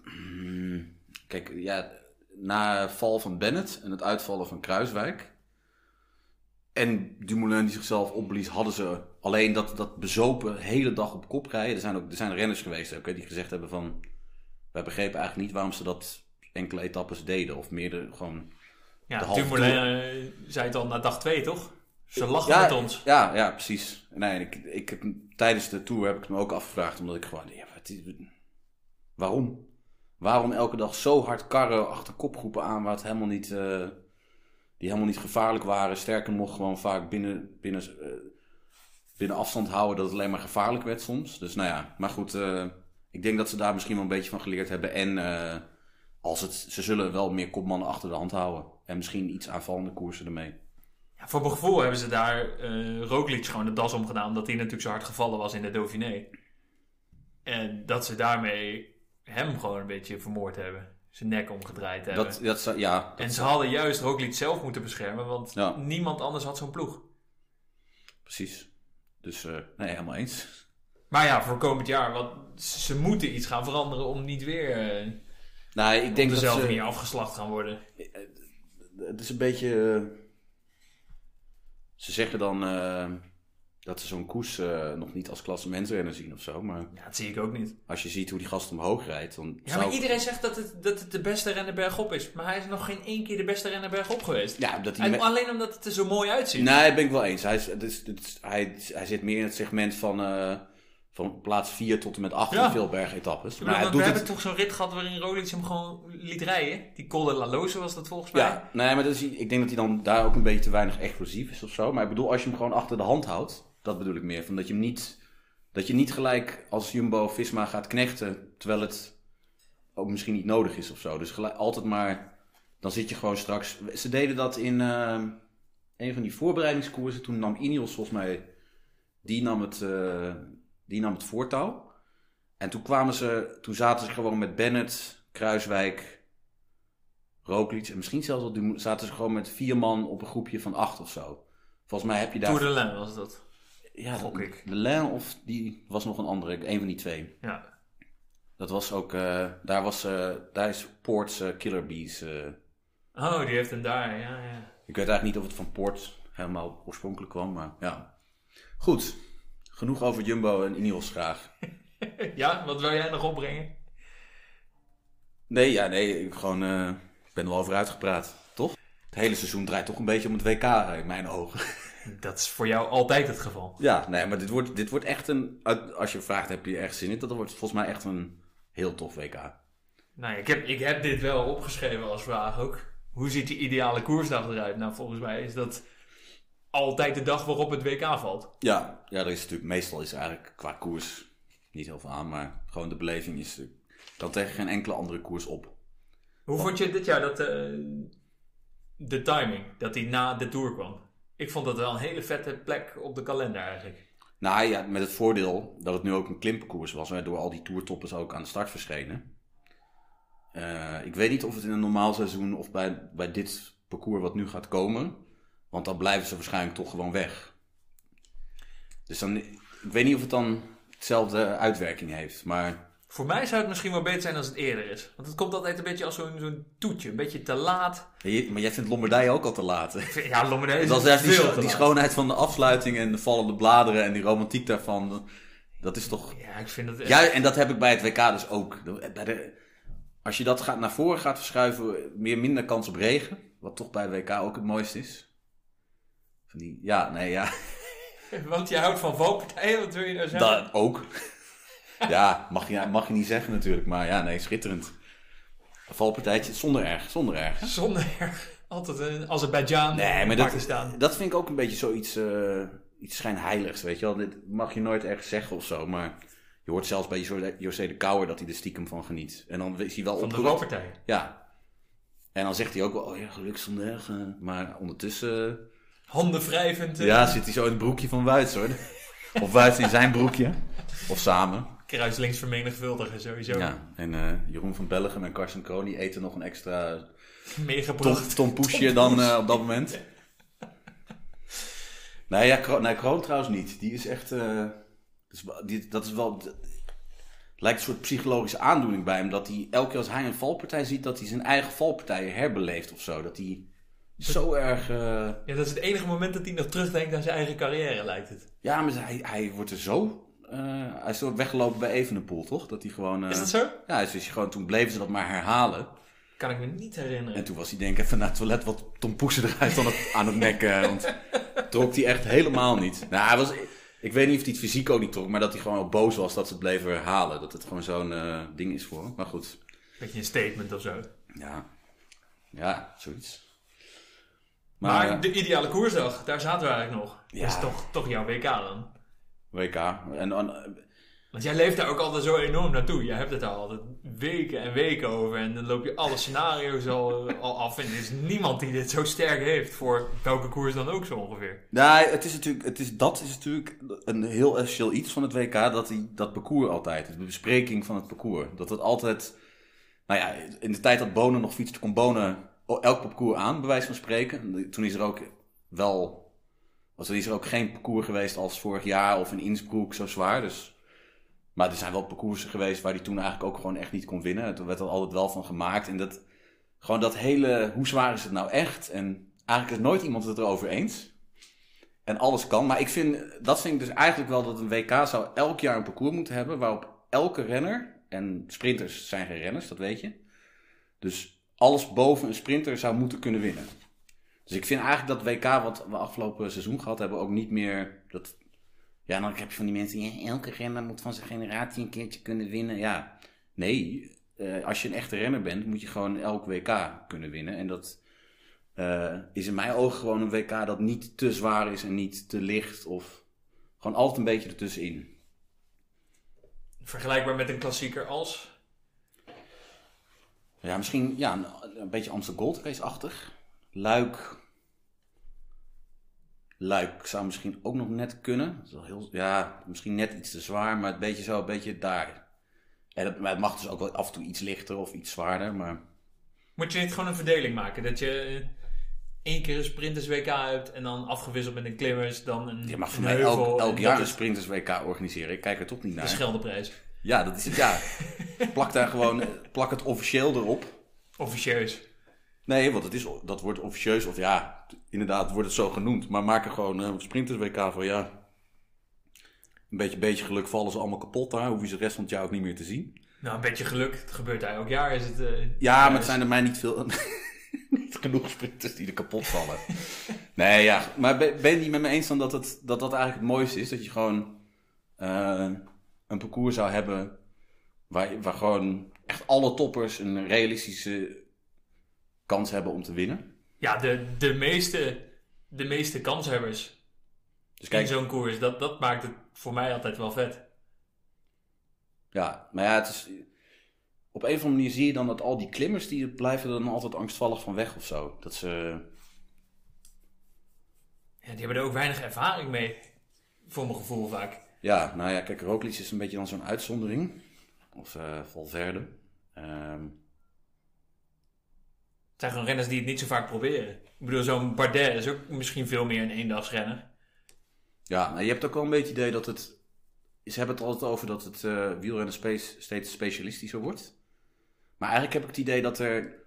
Speaker 3: Mm, Kijk, ja, na het val van Bennett en het uitvallen van Kruiswijk. En Dumoulin die zichzelf opblies, hadden ze alleen dat, dat bezopen hele dag op kop rijden. Er zijn ook er zijn renners geweest ook, hè, die gezegd hebben van... Wij begrepen eigenlijk niet waarom ze dat enkele etappes deden. Of meerdere, gewoon
Speaker 2: ja,
Speaker 3: de halve
Speaker 2: Dumoulin eh, zei het al na dag twee, toch? Ze lachen
Speaker 3: ja,
Speaker 2: met ons.
Speaker 3: Ja, ja, precies. Nee, ik, ik heb, hem- tijdens de tour heb ik het me ook afgevraagd, omdat ik gewoon, ja, wat is, waarom? Waarom elke dag zo hard karren achter kopgroepen aan, waar het helemaal niet, eh, die helemaal niet gevaarlijk waren. Sterker nog, gewoon vaak binnen, binnen, eh, binnen afstand houden dat het alleen maar gevaarlijk werd soms. Dus nou ja, maar goed, eh, ik denk dat ze daar misschien wel een beetje van geleerd hebben. En eh, als het, ze zullen wel meer kopmannen achter de hand houden. En misschien iets aanvallende koersen ermee.
Speaker 2: Ja, voor mijn gevoel hebben ze daar eh Roglic gewoon de das omgedaan. Omdat hij natuurlijk zo hard gevallen was in de Dauphiné. En dat ze daarmee hem gewoon een beetje vermoord hebben. Zijn nek omgedraaid hebben.
Speaker 3: Dat, dat, zou- ja,
Speaker 2: En ze hadden juist Roglic zelf moeten beschermen. Want
Speaker 3: Ja.
Speaker 2: niemand anders had zo'n ploeg.
Speaker 3: Precies. Dus eh, nee, helemaal eens.
Speaker 2: Maar ja, voor komend jaar. Want ze moeten iets gaan veranderen om niet weer eh,
Speaker 3: Nou, ik
Speaker 2: op
Speaker 3: denk dat
Speaker 2: dezelfde
Speaker 3: ze,
Speaker 2: manier afgeslacht gaan worden.
Speaker 3: het is een beetje... eh, ze zeggen dan eh, dat ze zo'n koers eh, nog niet als klassementrenner zien of zo. Maar
Speaker 2: Ja, dat zie ik ook niet.
Speaker 3: als je ziet hoe die gast omhoog rijdt, dan
Speaker 2: Ja,
Speaker 3: zou
Speaker 2: maar
Speaker 3: ik-
Speaker 2: iedereen zegt dat het, dat het de beste renner bergop is. Maar hij is nog geen één keer de beste renner bergop geweest.
Speaker 3: Ja, dat hij...
Speaker 2: En
Speaker 3: me-
Speaker 2: Alleen omdat het er zo mooi uitziet.
Speaker 3: Nee, ben ik wel eens. Hij, is, het is, het is- hij, hij zit meer in het segment van, eh, van plaats 4 tot en met 8
Speaker 2: Ja.
Speaker 3: in veel bergetappes.
Speaker 2: Ik
Speaker 3: Maar
Speaker 2: bedoel,
Speaker 3: hij
Speaker 2: want we
Speaker 3: doet het...
Speaker 2: hebben toch zo'n rit gehad waarin Roglic hem gewoon liet rijden. Die Col de la Loze was dat volgens mij.
Speaker 3: Ja, nee, maar dat is, ik denk dat hij dan daar ook een beetje te weinig explosief is of zo. Maar ik bedoel, als je hem gewoon achter de hand houdt, dat bedoel ik meer. Van dat je hem niet, dat je niet gelijk als Jumbo of Visma gaat knechten, terwijl het ook misschien niet nodig is of zo. Dus gelijk, altijd maar, dan zit je gewoon straks. Ze deden dat in eh, een van die voorbereidingskoersen. Toen nam Ineos volgens mij, die nam het, eh, die nam het voortouw. En toen kwamen ze, toen zaten ze gewoon met Bennett, Kruiswijk, Roglic en misschien zelfs wel Dumoulin, zaten ze gewoon met vier man op een groepje van acht of zo. Volgens mij heb je daar...
Speaker 2: Tour de Lijn was dat.
Speaker 3: ja,
Speaker 2: gok ik.
Speaker 3: De Lijn of die was nog een andere, een van die twee.
Speaker 2: Ja.
Speaker 3: Dat was ook, eh, daar was, eh, daar is Poort's eh, Killer Bees. eh.
Speaker 2: Oh, die heeft hem daar. Ja, ja.
Speaker 3: ik weet eigenlijk niet of het van Poort helemaal oorspronkelijk kwam, maar ja. Goed, genoeg over Jumbo en Ineos graag.
Speaker 2: ja, wat wil jij nog opbrengen?
Speaker 3: Nee, ja, nee, ik gewoon, eh, ik ben er wel over uitgepraat, toch? Het hele seizoen draait toch een beetje om het WK in mijn ogen.
Speaker 2: Dat is voor jou altijd het geval.
Speaker 3: Ja, nee, maar dit wordt, dit wordt echt een. uit- Als je vraagt, heb je echt zin in? Dat wordt volgens mij echt een heel tof WK.
Speaker 2: Nou, ja, ik heb, ik heb dit wel opgeschreven als vraag ook. Hoe ziet die ideale koersdag eruit? Nou, volgens mij is dat altijd de dag waarop het WK valt.
Speaker 3: Ja, ja er is natuurlijk, meestal is er eigenlijk qua koers niet heel veel aan, maar gewoon de beleving is. eh, kan tegen geen enkele andere koers op.
Speaker 2: Hoe vond je dit jaar dat eh, de timing, dat die na de Tour kwam? Ik vond dat wel een hele vette plek op de kalender eigenlijk.
Speaker 3: Nou ja, met het voordeel dat het nu ook een klimkoers was, waardoor al die toertoppers ook aan de start verschenen. Eh, ik weet niet of het in een normaal seizoen of bij, bij dit parcours wat nu gaat komen, want dan blijven ze waarschijnlijk toch gewoon weg. Dus dan, ik weet niet of het dan hetzelfde uitwerking heeft, maar
Speaker 2: Voor mij zou het misschien wel beter zijn als het eerder is. Want het komt altijd een beetje als zo'n zo'n toetje. Een beetje te laat.
Speaker 3: je- maar jij vindt Lombardije ook al te laat. hè?
Speaker 2: Ik vind- Ja, Lombardije is
Speaker 3: Dat is
Speaker 2: veel
Speaker 3: juist die,
Speaker 2: te
Speaker 3: scho- die
Speaker 2: laat.
Speaker 3: schoonheid van de afsluiting en de vallende bladeren en die romantiek daarvan, dat is toch
Speaker 2: Ja, ik vind dat echt...
Speaker 3: Ja, en dat heb ik bij het WK dus ook. Bij de- als je dat gaat naar voren gaat verschuiven, meer minder kans op regen. Wat toch bij het WK ook het mooiste is. Van die, ja, nee, ja.
Speaker 2: Want je houdt van valpartijen, wat wil je nou zeggen?
Speaker 3: Dat ook. ja, mag je, mag je niet zeggen natuurlijk, maar ja, nee, schitterend. Een valpartijtje, zonder erg, zonder erg.
Speaker 2: Zonder erg. Altijd een Azerbeidzjan.
Speaker 3: Nee, maar dat,
Speaker 2: Pakistan.
Speaker 3: dat vind ik ook een beetje zoiets eh iets schijnheiligs, weet je wel. Dit mag je nooit ergens zeggen of zo, maar... Je hoort zelfs bij Jo- José de Kouwer dat hij er stiekem van geniet. En dan is hij wel
Speaker 2: Van de
Speaker 3: opgeroepen.
Speaker 2: valpartij.
Speaker 3: Ja. En dan zegt hij ook wel, oh ja, gelukkig zondag. eh, Maar ondertussen eh,
Speaker 2: Handen wrijvend. eh,
Speaker 3: ja, zit hij zo in het broekje van Wuits hoor. of Wuits in zijn broekje. Of samen.
Speaker 2: eh, Kruislinks vermenigvuldigen sowieso.
Speaker 3: Ja. En eh, Jeroen van Bellegem en Karsten Kroon die eten nog een extra tom,
Speaker 2: Meegebracht.
Speaker 3: tom poesje dan eh, op dat moment. nee, ja, Kroon, nee, Kroon trouwens niet. Die is echt... eh, dat, is, wel- die, dat is wel... dat- Lijkt een soort psychologische aandoening bij hem. Dat hij elke keer als hij een valpartij ziet, dat hij zijn eigen valpartijen herbeleeft of zo. Dat hij zo erg... eh,
Speaker 2: Ja, dat is het enige moment dat hij nog terugdenkt aan zijn eigen carrière, lijkt het.
Speaker 3: Ja, maar hij, hij wordt er zo... eh, hij is zo weggelopen bij Evenepoel, toch? Dat hij gewoon... eh,
Speaker 2: Is dat zo?
Speaker 3: Ja, dus is hij gewoon, toen bleven ze dat maar herhalen.
Speaker 2: Kan ik me niet herinneren.
Speaker 3: En toen was hij denk ik even naar het toilet wat tompoesen eruit aan het, aan het nek. eh, want trok hij echt helemaal niet. Nou, hij was, ik weet niet of hij het fysiek ook niet trok, maar dat hij gewoon wel boos was dat ze het bleven herhalen. Dat het gewoon zo'n eh, ding is voor hem. Maar goed,
Speaker 2: Beetje een statement of zo.
Speaker 3: ja. Ja, zoiets.
Speaker 2: Maar,
Speaker 3: Maar, eh,
Speaker 2: de ideale koersdag, daar zaten we eigenlijk nog.
Speaker 3: Ja.
Speaker 2: Dat is toch, toch jouw WK dan.
Speaker 3: WK. En, en-
Speaker 2: Want jij leeft daar ook altijd zo enorm naartoe. Jij hebt het daar altijd weken en weken over. En dan loop je alle scenario's al, al af. En er is niemand die dit zo sterk heeft voor welke koers dan ook zo ongeveer.
Speaker 3: Nou, het is natuurlijk, het is, dat is natuurlijk een heel essentieel iets van het WK, dat, die, dat parcours altijd, de bespreking van het parcours. Dat het altijd, nou ja, in de tijd dat Bonen nog fietste, kon Bonen elk parcours aan, bij wijze van spreken. En Toen is er ook wel, was er, is er ook geen parcours geweest als vorig jaar of in Innsbruck zo zwaar, dus... Maar er zijn wel parcoursen geweest waar hij toen eigenlijk ook gewoon echt niet kon winnen. Er werd er altijd wel van gemaakt. En dat, gewoon dat hele, hoe zwaar is het nou echt? En eigenlijk is nooit iemand het erover eens. En alles kan. Maar ik vind, dat vind ik dus eigenlijk wel dat een WK zou elk jaar een parcours moeten hebben. Waarop elke renner, en sprinters zijn geen renners, dat weet je. Dus alles boven een sprinter zou moeten kunnen winnen. Dus ik vind eigenlijk dat WK wat we afgelopen seizoen gehad hebben ook niet meer. Dat, ja, dan heb je van die mensen. Ja, elke renner moet van zijn generatie een keertje kunnen winnen. Ja, nee. eh, als je een echte renner bent, moet je gewoon elk WK kunnen winnen. En dat eh, is in mijn ogen gewoon een WK dat niet te zwaar is en niet te licht. Of gewoon altijd een beetje ertussenin.
Speaker 2: Vergelijkbaar met een klassieker als...
Speaker 3: Ja, misschien ja, een, een beetje Amsterdam Gold Race-achtig. Luik. Luik zou misschien ook nog net kunnen. Dat is wel heel, ja, misschien net iets te zwaar, maar een beetje zo, een beetje daar. En het, maar het mag dus ook wel af en toe iets lichter of iets zwaarder. Maar
Speaker 2: Moet je niet gewoon een verdeling maken? Dat je eh, één keer een sprinters WK hebt en dan afgewisseld met een klimmers, dan een
Speaker 3: je mag voor
Speaker 2: een
Speaker 3: mij
Speaker 2: heuvel.
Speaker 3: elk,
Speaker 2: en
Speaker 3: elk
Speaker 2: dat
Speaker 3: jaar een
Speaker 2: is
Speaker 3: Sprinters WK organiseren. Ik kijk er toch niet
Speaker 2: de
Speaker 3: naar.
Speaker 2: Scheldeprijs.
Speaker 3: Ja, dat is het. Ja. plak daar gewoon, eh, plak het officieel erop.
Speaker 2: Officieus.
Speaker 3: Nee, want het is, dat wordt officieus, of ja, inderdaad wordt het zo genoemd. Maar maak er gewoon een sprinters WK van, ja. Een beetje, beetje geluk vallen ze allemaal kapot daar. Hoef je ze de rest van het jaar ook niet meer te zien.
Speaker 2: Nou, een beetje geluk. Het gebeurt daar elk jaar. Is het, eh,
Speaker 3: Ja, maar het
Speaker 2: is-
Speaker 3: zijn er mij niet veel. niet genoeg sprinters die er kapot vallen. nee, ja. Maar ben, ben je niet met me eens dan dat, het, dat dat eigenlijk het mooiste is? Dat je gewoon eh, een parcours zou hebben waar, waar gewoon echt alle toppers een realistische kans hebben om te winnen?
Speaker 2: Ja, de, de, meeste, de meeste kanshebbers
Speaker 3: Dus
Speaker 2: in zo'n koers, dat, dat maakt het voor mij altijd wel vet.
Speaker 3: Ja, maar ja, het is... Op een of andere manier zie je dan dat al die klimmers... die blijven er dan altijd angstvallig van weg of zo. Dat ze...
Speaker 2: Ja, die hebben er ook weinig ervaring mee, voor mijn gevoel vaak.
Speaker 3: Ja, nou ja, kijk, Roglic is een beetje dan zo'n uitzondering. Of eh Valverde. Ehm,
Speaker 2: Het zijn gewoon renners die het niet zo vaak proberen. Ik bedoel, zo'n Bardet is ook misschien veel meer een eendagsrenner.
Speaker 3: ja, maar je hebt ook wel een beetje het idee dat het... Ze hebben het altijd over dat het eh wielrennen space steeds specialistischer wordt. Maar eigenlijk heb ik het idee dat er...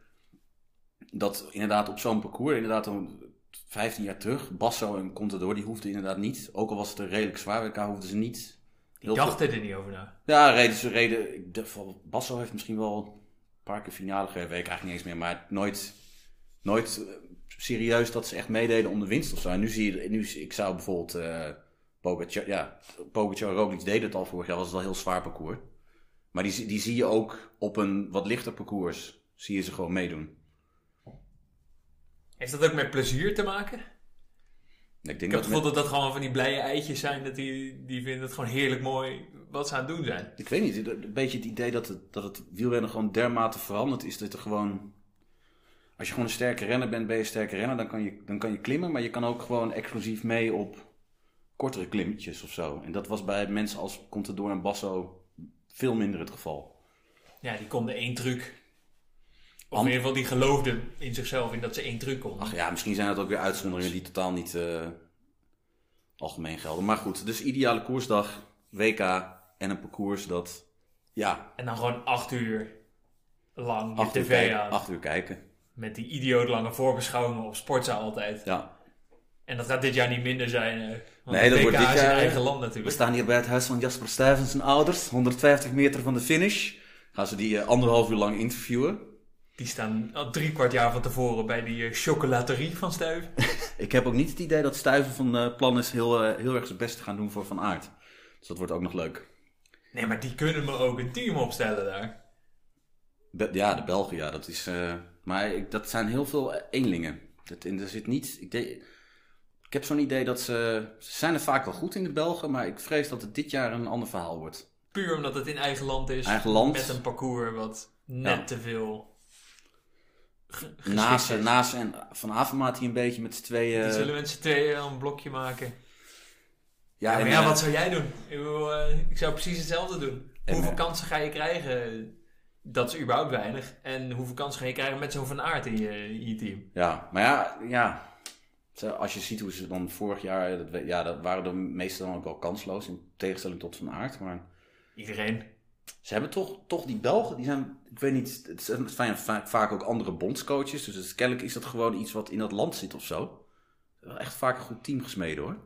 Speaker 3: Dat inderdaad op zo'n parcours, inderdaad dan 15 jaar terug... Basso en Contador, die hoefden inderdaad niet... Ook al was het er redelijk zwaar, elkaar hoefden ze niet...
Speaker 2: Die
Speaker 3: veel-
Speaker 2: dachten er niet over na.
Speaker 3: Ja, reden ze reden. Ik dacht van, Basso heeft misschien wel een paar keer finale gereden, weet ik eigenlijk niet eens meer. Maar nooit, nooit eh, serieus dat ze echt meededen om de winst of zo. En nu zie je, nu, zie- ik zou bijvoorbeeld eh Pogacar, ja, Pogacar en Roglic deden het al vorig jaar, was het wel een heel zwaar parcours. Maar die, zie- die zie je ook op een wat lichter parcours, zie je ze gewoon meedoen.
Speaker 2: Heeft dat ook met plezier te maken?
Speaker 3: En Ik
Speaker 2: Ik heb
Speaker 3: denk dat
Speaker 2: het
Speaker 3: met-
Speaker 2: gevoel dat dat gewoon van die blije eitjes zijn. Dat die, die vinden het gewoon heerlijk mooi wat ze aan het doen zijn.
Speaker 3: Ik weet niet, een beetje het idee dat het, dat het wielrennen gewoon dermate veranderd is. Dat er gewoon. Als je gewoon een sterke renner bent, ben je een sterke renner, dan kan je, dan kan je klimmen. Maar je kan ook gewoon exclusief mee op kortere klimmetjes of zo. En dat was bij mensen als Contador en Basso veel minder het geval.
Speaker 2: Ja, die konden één truc. Of
Speaker 3: Am-
Speaker 2: in ieder geval die geloofden in zichzelf in dat ze één truc konden.
Speaker 3: Ach ja, misschien zijn dat ook weer uitzonderingen die totaal niet eh, algemeen gelden. Maar goed, dus ideale koersdag, WK en een parcours dat. Ja,
Speaker 2: En dan gewoon acht uur lang je
Speaker 3: acht uur,
Speaker 2: tv
Speaker 3: kijken,
Speaker 2: aan.
Speaker 3: acht uur kijken.
Speaker 2: Met die idioot lange voorbeschouwingen op sportza altijd.
Speaker 3: Ja.
Speaker 2: En dat gaat dit jaar niet minder zijn. eh, want
Speaker 3: Nee,
Speaker 2: de
Speaker 3: dat wordt
Speaker 2: WK
Speaker 3: dit
Speaker 2: is in
Speaker 3: jaar-
Speaker 2: eigen land
Speaker 3: We
Speaker 2: natuurlijk.
Speaker 3: staan hier bij het huis van Jasper Stuyvens en ouders, 150 meter van de finish. Gaan ze die eh, anderhalf uur lang interviewen?
Speaker 2: Die staan al drie kwart jaar van tevoren bij die eh, chocolaterie van Stuif.
Speaker 3: Ik heb ook niet het idee dat Stuiven van eh, plan is heel, eh, heel erg zijn best te gaan doen voor Van Aert. Dus dat wordt ook nog leuk.
Speaker 2: Nee, maar die kunnen me ook een team opstellen daar.
Speaker 3: Be- ja, de Belgen, ja, dat is... eh, maar ik, dat zijn heel veel eh, eenlingen. Dat, en er zit niet... Ik, de- ik heb zo'n idee dat ze... Ze zijn er vaak wel goed in, de Belgen. Maar ik vrees dat het dit jaar een ander verhaal wordt.
Speaker 2: Puur omdat het in eigen land is.
Speaker 3: Eigen land.
Speaker 2: Dus Met een parcours wat net
Speaker 3: Ja.
Speaker 2: te veel... ge- geschikt
Speaker 3: Naast,
Speaker 2: is.
Speaker 3: naast en Van Avermaat hier een beetje met z'n tweeën...
Speaker 2: Die zullen met z'n tweeën wel een blokje maken. Ja,
Speaker 3: en,
Speaker 2: maar ja,
Speaker 3: eh,
Speaker 2: wat zou jij doen? Ik, bedoel, eh, ik zou precies hetzelfde doen.
Speaker 3: En,
Speaker 2: hoeveel
Speaker 3: eh,
Speaker 2: kansen ga je krijgen? Dat is überhaupt weinig. En hoeveel kansen ga je krijgen met zo'n Van Aert in je, in je team?
Speaker 3: Ja, maar ja, ja. Zo, Als je ziet hoe ze dan vorig jaar, dat, we- ja, dat waren de meeste dan ook wel kansloos, in tegenstelling tot Van Aert. Maar
Speaker 2: Iedereen.
Speaker 3: ze hebben toch, toch die Belgen, die zijn, ik weet niet, het zijn- het zijn vaak, vaak ook andere bondscoaches. Dus het, is- kennelijk is dat gewoon iets wat in dat land zit of zo. Wel Echt vaak een goed team gesmeden hoor.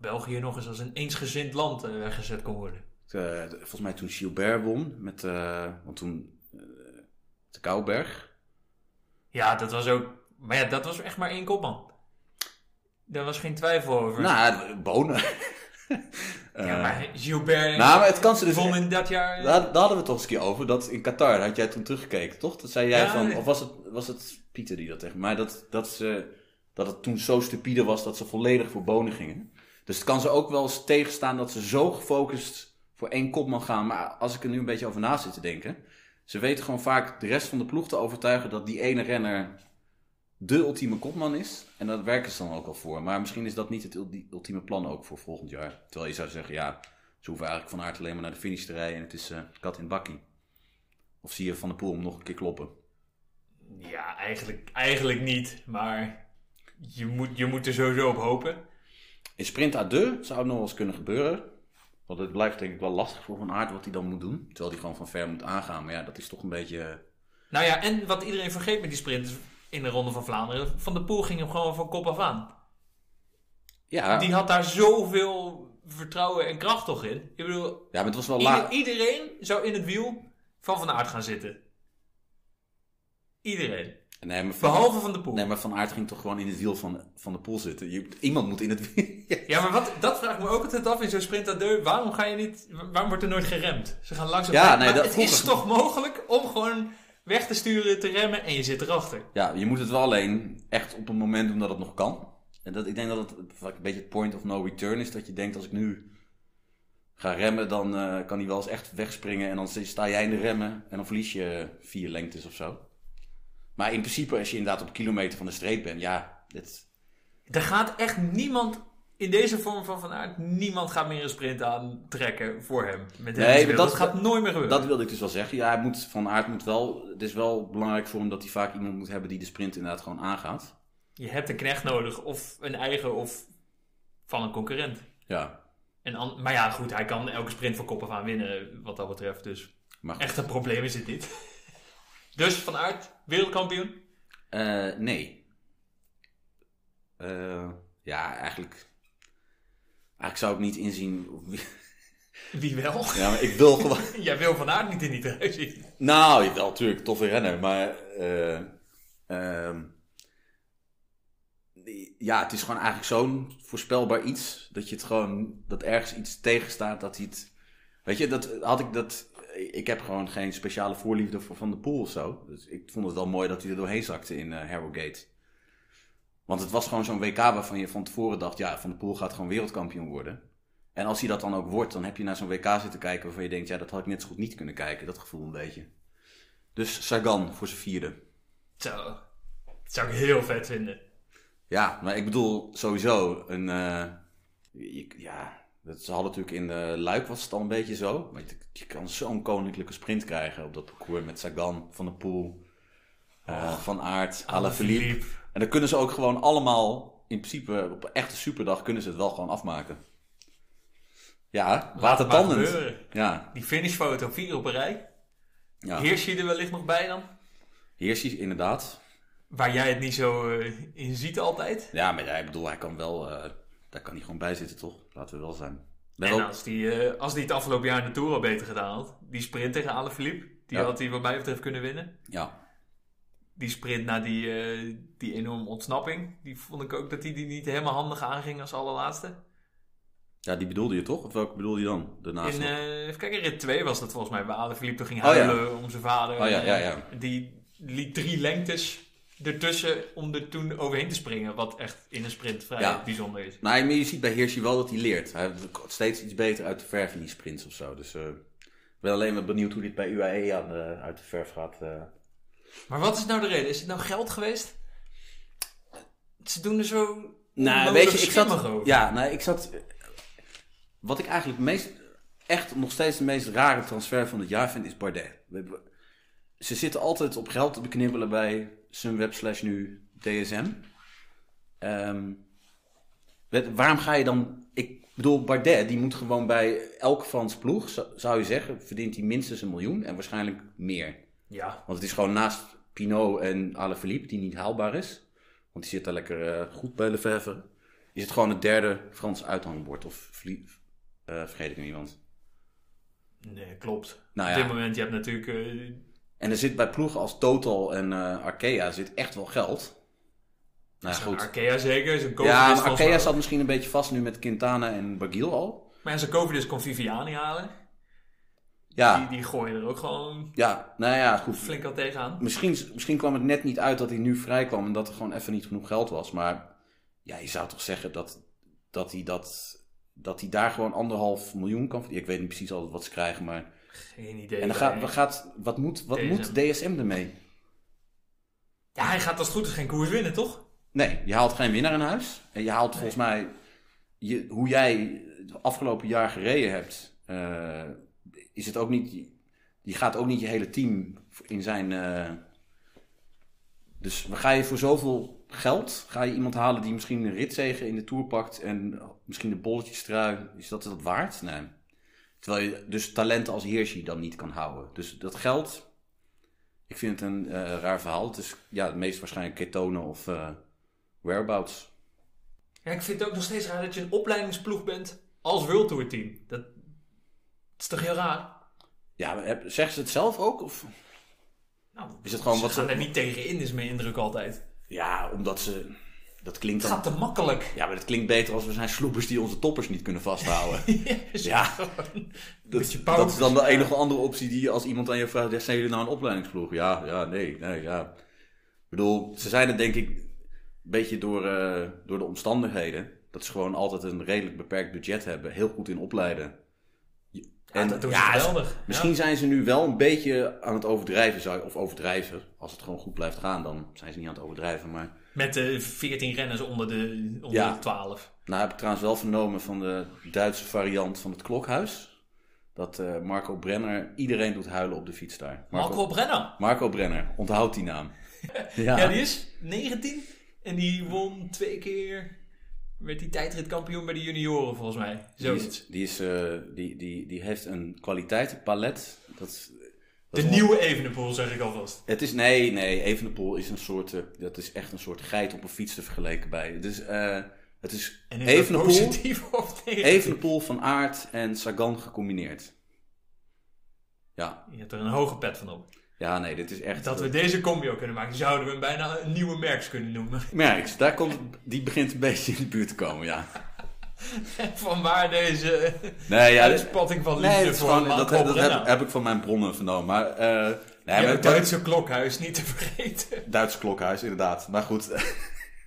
Speaker 2: België nog eens als een eensgezind land eh, weggezet kon worden.
Speaker 3: Eh, volgens mij toen Gilbert won, met, eh, want toen eh, de Kouwberg.
Speaker 2: Ja, dat was ook. Maar ja, dat was echt maar één kopman. Daar was geen twijfel over.
Speaker 3: Nou, Bonen.
Speaker 2: ja, maar Gilbert
Speaker 3: Nou, maar het kan ze dus
Speaker 2: won in dat jaar.
Speaker 3: Daar, daar hadden we het toch eens een keer over. Dat in Qatar had jij toen teruggekeken, toch? Dat zei jij
Speaker 2: Ja,
Speaker 3: van.
Speaker 2: nee.
Speaker 3: Of was het, was het Pieter die dat tegen mij? Dat, dat, ze, dat het toen zo stupide was dat ze volledig voor bonen gingen. Dus het kan ze ook wel eens tegenstaan dat ze zo gefocust voor één kopman gaan. Maar als ik er nu een beetje over na zit te denken. Ze weten gewoon vaak de rest van de ploeg te overtuigen dat die ene renner de ultieme kopman is. En daar werken ze dan ook al voor. Maar misschien is dat niet het ulti- ultieme plan ook voor volgend jaar. Terwijl je zou zeggen, ja, ze hoeven eigenlijk van aard alleen maar naar de finish te rijden. En het is eh, kat in bakkie. Of zie je Van de Poel hem nog een keer kloppen.
Speaker 2: Ja, eigenlijk, eigenlijk niet. Maar je moet, je moet er sowieso op hopen.
Speaker 3: In sprint à deux zou het nog wel eens kunnen gebeuren. Want het blijft denk ik wel lastig voor Van Aert wat hij dan moet doen. Terwijl hij gewoon van ver moet aangaan. Maar ja, dat is toch een beetje... eh,
Speaker 2: Nou ja, en wat iedereen vergeet met die sprint in de Ronde van Vlaanderen. Van der Poel ging hem gewoon van kop af aan.
Speaker 3: Ja,
Speaker 2: Die had daar zoveel vertrouwen en kracht toch in. Ik bedoel,
Speaker 3: ja, maar het was wel
Speaker 2: ieder-
Speaker 3: laat.
Speaker 2: iedereen zou in het wiel van Van Aert gaan zitten. Iedereen.
Speaker 3: Nee, maar van,
Speaker 2: Behalve Van der Poel.
Speaker 3: nee, maar Van Aert ging toch gewoon in het wiel van, van de poel zitten. Je- iemand moet in het wiel... Ja.
Speaker 2: Ja, maar wat, dat vraag ik me ook altijd af in zo'n sprint à deux. Waarom ga je niet, wa- waarom wordt er nooit geremd? Ze gaan langzaam.
Speaker 3: Ja,
Speaker 2: maar
Speaker 3: nee, dat
Speaker 2: het
Speaker 3: vroeger-
Speaker 2: is toch mogelijk om gewoon weg te sturen, te remmen en je zit erachter.
Speaker 3: Ja, je moet het wel alleen echt op een moment doen dat het nog kan. En dat, ik denk dat het vaak een beetje het point of no return is. Dat je denkt, als ik nu ga remmen, dan eh, kan hij wel eens echt wegspringen. En dan sta jij in de remmen en dan verlies je eh, vier lengtes of zo. Maar in principe, als je inderdaad op een kilometer van de streep bent, ja, dit,
Speaker 2: Er gaat echt niemand in deze vorm van Van Aert, niemand gaat meer een sprint aantrekken voor hem. Met hem
Speaker 3: Nee,
Speaker 2: in beeld.
Speaker 3: maar dat-
Speaker 2: dat, gaat nooit meer gebeuren.
Speaker 3: dat wilde ik dus wel zeggen. Ja, hij moet, Van Aert moet wel, het is wel belangrijk voor hem dat hij vaak iemand moet hebben die de sprint inderdaad gewoon aangaat.
Speaker 2: Je hebt een knecht nodig, of een eigen, of van een concurrent.
Speaker 3: Ja,
Speaker 2: En an- maar ja, goed, hij kan elke sprint van kop af aan winnen, wat dat betreft. Dus
Speaker 3: maar goed.
Speaker 2: echt een probleem is het niet. Dus Van Aert, wereldkampioen.
Speaker 3: Eh, nee. Eh, ja, eigenlijk. Eigenlijk zou ik niet inzien. wie-
Speaker 2: Wie wel?
Speaker 3: Ja, maar ik wil gewoon.
Speaker 2: Jij wil Van Aert niet in die trui zien.
Speaker 3: nou, jawel, natuurlijk, toffe renner. Maar. eh, ehm, ja, het is gewoon eigenlijk zo'n voorspelbaar iets. Dat je het gewoon. Dat ergens iets tegenstaat dat hij het. Weet je, dat had ik dat. Ik heb gewoon geen speciale voorliefde voor Van de Poel of zo. Dus ik vond het wel mooi dat hij er doorheen zakte in eh Harrogate. Want het was gewoon zo'n WK waarvan je van tevoren dacht: ja, Van de Poel gaat gewoon wereldkampioen worden. En als hij dat dan ook wordt, dan heb je naar zo'n WK zitten kijken waarvan je denkt: ja, dat had ik net zo goed niet kunnen kijken. Dat gevoel een beetje. Dus Sagan voor zijn vierde.
Speaker 2: Zo. Dat zou ik heel vet vinden.
Speaker 3: Ja, maar ik bedoel sowieso een. eh, je- ja, dat, ze hadden natuurlijk in de Luik was het al een beetje zo. Maar je, je kan zo'n koninklijke sprint krijgen op dat parcours met Sagan, Van der Poel, eh,
Speaker 2: Oh,
Speaker 3: Van Aert, Alaphilippe.
Speaker 2: Alaphilippe.
Speaker 3: En dan kunnen ze ook gewoon allemaal, in principe op een echte superdag, kunnen ze het wel gewoon afmaken. Ja,
Speaker 2: Laat het maar
Speaker 3: watertandend.
Speaker 2: gebeuren.
Speaker 3: Ja,
Speaker 2: Die finishfoto, vier op een rij.
Speaker 3: ja.
Speaker 2: Hier zie je er wellicht nog bij dan.
Speaker 3: Hier zie je inderdaad.
Speaker 2: Waar jij het niet zo eh, in ziet altijd.
Speaker 3: Ja, maar ja, ik bedoel, hij kan wel, eh, daar kan hij gewoon bij zitten, toch? Laten we wel zijn. Let
Speaker 2: En
Speaker 3: op.
Speaker 2: als die, eh, als die het afgelopen jaar in de Tour al beter gedaan had. Die sprint tegen Alaphilippe. Die
Speaker 3: Ja.
Speaker 2: had hij wat mij betreft kunnen winnen.
Speaker 3: Ja.
Speaker 2: die sprint na die, eh, die enorme ontsnapping. Die vond ik ook dat hij die, niet helemaal handig aanging als allerlaatste.
Speaker 3: Ja, die bedoelde je toch? Of welke bedoelde je dan? Daarnaast
Speaker 2: In,
Speaker 3: nog?
Speaker 2: eh, even kijken, rit 2 was dat volgens mij. Waar Alaphilippe toen ging
Speaker 3: Oh, ja.
Speaker 2: huilen om zijn vader.
Speaker 3: Oh, ja, ja, ja.
Speaker 2: Die liet drie lengtes ertussen om er toen overheen te springen. Wat echt in een sprint vrij
Speaker 3: Ja.
Speaker 2: bijzonder is.
Speaker 3: Nou, maar je ziet bij Hirschi wel dat hij leert. Hij komt steeds iets beter uit de verf in die sprints of zo. Dus eh, ik ben alleen wel benieuwd hoe dit bij UAE aan de- uit de verf gaat. eh.
Speaker 2: Maar wat is nou de reden? Is het nou geld geweest? Ze doen er zo...
Speaker 3: Nou,
Speaker 2: onnodig
Speaker 3: weet je, ik zat.
Speaker 2: schimmig over.
Speaker 3: Ja, nou, ik zat. Wat ik eigenlijk het meest, echt nog steeds de meest rare transfer van het jaar vind, is Bardet. We hebben- ze zitten altijd op geld te beknibbelen bij Sunweb slash nu DSM. Ehm, weet- waarom ga je dan... Ik bedoel, Bardet, die moet gewoon bij elke Frans ploeg, zo- zou je zeggen, verdient hij minstens een miljoen en waarschijnlijk meer.
Speaker 2: Ja.
Speaker 3: Want het is gewoon naast Pinot en Alaphilippe, die niet haalbaar is. Want die zit daar lekker eh, goed bij Lefevre. Is het gewoon het derde Frans uithangbord? Of vlie- eh, vergeet ik nu iemand?
Speaker 2: Nee, klopt.
Speaker 3: Nou
Speaker 2: Op
Speaker 3: ja.
Speaker 2: dit moment, je hebt natuurlijk... eh,
Speaker 3: En er zit bij ploegen als Total en eh, Arkea zit echt wel geld. Nou ja,
Speaker 2: zo'n
Speaker 3: goed.
Speaker 2: Arkea zeker. Zo'n COVID
Speaker 3: Ja,
Speaker 2: is
Speaker 3: maar
Speaker 2: vast
Speaker 3: Arkea
Speaker 2: wel-
Speaker 3: zat misschien een beetje vast nu met Quintana en Bagil al.
Speaker 2: Maar ja, zo'n COVID is kon Viviani halen. Die,
Speaker 3: Ja,
Speaker 2: die gooien er ook gewoon
Speaker 3: ja, nou ja, goed.
Speaker 2: flink aan tegenaan.
Speaker 3: Misschien, misschien kwam het net niet uit dat hij nu vrij kwam en dat er gewoon even niet genoeg geld was. Maar ja, je zou toch zeggen dat, dat, hij, dat, dat hij daar gewoon anderhalf miljoen kan verdienen. Ik weet niet precies altijd wat ze krijgen, maar...
Speaker 2: Geen idee.
Speaker 3: En dan gaat, wat gaat, wat moet, wat
Speaker 2: DSM.
Speaker 3: moet DSM ermee?
Speaker 2: Ja, hij gaat als het goed is geen koers winnen, toch?
Speaker 3: Nee, je haalt geen winnaar in huis. En je haalt volgens mij je, hoe jij het afgelopen jaar gereden hebt. eh, is het ook niet. Je gaat ook niet je hele team in zijn. eh, dus ga je voor zoveel geld. Ga je iemand halen die misschien een ritzegen in de tour pakt. En misschien de bolletjes trui. Is dat dat waard? Nee. Terwijl je dus talenten als Hirschi dan niet kan houden. Dus dat geld. Ik vind het een eh, raar verhaal. Het is ja, het meest waarschijnlijk ketonen of eh, whereabouts.
Speaker 2: Ja, ik vind het ook nog steeds raar dat je een opleidingsploeg bent als World Tour team. Dat is toch heel raar?
Speaker 3: Ja, maar heb- zeggen ze het zelf ook? Of?
Speaker 2: Nou,
Speaker 3: Is het gewoon
Speaker 2: ze
Speaker 3: wat ze-
Speaker 2: gaan er niet tegen in, is mijn indruk altijd.
Speaker 3: Ja, omdat ze... Dat klinkt
Speaker 2: Het
Speaker 3: dan...
Speaker 2: gaat te makkelijk.
Speaker 3: Ja, maar dat klinkt beter als we zijn sloepers die onze toppers niet kunnen vasthouden. ja, dat,
Speaker 2: Beetje pauper.
Speaker 3: dat is dan de enige andere optie die je als iemand aan je vraagt... "Ja, Zijn jullie nou een opleidingsploeg? Ja, ja, nee, nee, ja. Ik bedoel, ze zijn het denk ik een beetje door, eh, door de omstandigheden... dat ze gewoon altijd een redelijk beperkt budget hebben. Heel goed in opleiden.
Speaker 2: Ja, dat doen ze
Speaker 3: ja,
Speaker 2: geweldig. Ja.
Speaker 3: Misschien zijn ze nu wel een beetje aan het overdrijven, zou je- of overdrijven. Als het gewoon goed blijft gaan, dan zijn ze niet aan het overdrijven. Maar
Speaker 2: Met de 14 renners onder de, onder
Speaker 3: Ja.
Speaker 2: de 12.
Speaker 3: nou heb ik trouwens wel vernomen van de Duitse variant van het klokhuis. Dat eh, Marco Brenner, iedereen doet huilen op de fiets daar.
Speaker 2: Marco Brenner.
Speaker 3: Marco Brenner, onthoud die naam. ja.
Speaker 2: Ja, die is 19. En die won twee keer. Werd die tijdritkampioen bij de junioren, volgens mij.
Speaker 3: die,
Speaker 2: Zoiets.
Speaker 3: is, die, is, eh, die, die, die heeft een kwaliteitenpalet. Dat, is-
Speaker 2: De
Speaker 3: dat is-
Speaker 2: nieuwe Evenepoel, zeg ik alvast.
Speaker 3: Het is, nee, nee, Evenepoel is een soort, eh, dat is echt een soort geit op een fiets te vergelijken bij. Dus, eh het is
Speaker 2: En is dat
Speaker 3: Evenepoel,
Speaker 2: positief of tegen?
Speaker 3: Evenepoel, Van Aert en Sagan gecombineerd. Ja,
Speaker 2: Je hebt er een hoge pet van op.
Speaker 3: ja nee, dit is echt... eh,
Speaker 2: Dat we deze combo kunnen maken, zouden we hem bijna een nieuwe merks kunnen noemen.
Speaker 3: Merks, daar komt, die begint een beetje in de buurt te komen, ja.
Speaker 2: Vanwaar deze
Speaker 3: Nee, ja, dit-
Speaker 2: uitspatting van liefde
Speaker 3: nee dat, is
Speaker 2: voor
Speaker 3: gewoon,
Speaker 2: Marco
Speaker 3: dat, dat
Speaker 2: Brenner.
Speaker 3: heb, heb ik van mijn bronnen vernomen. Maar, eh nee,
Speaker 2: Ja,
Speaker 3: maar Eh,
Speaker 2: het nou, Duitse klokhuis, niet te vergeten.
Speaker 3: Duitse klokhuis, inderdaad. Maar goed.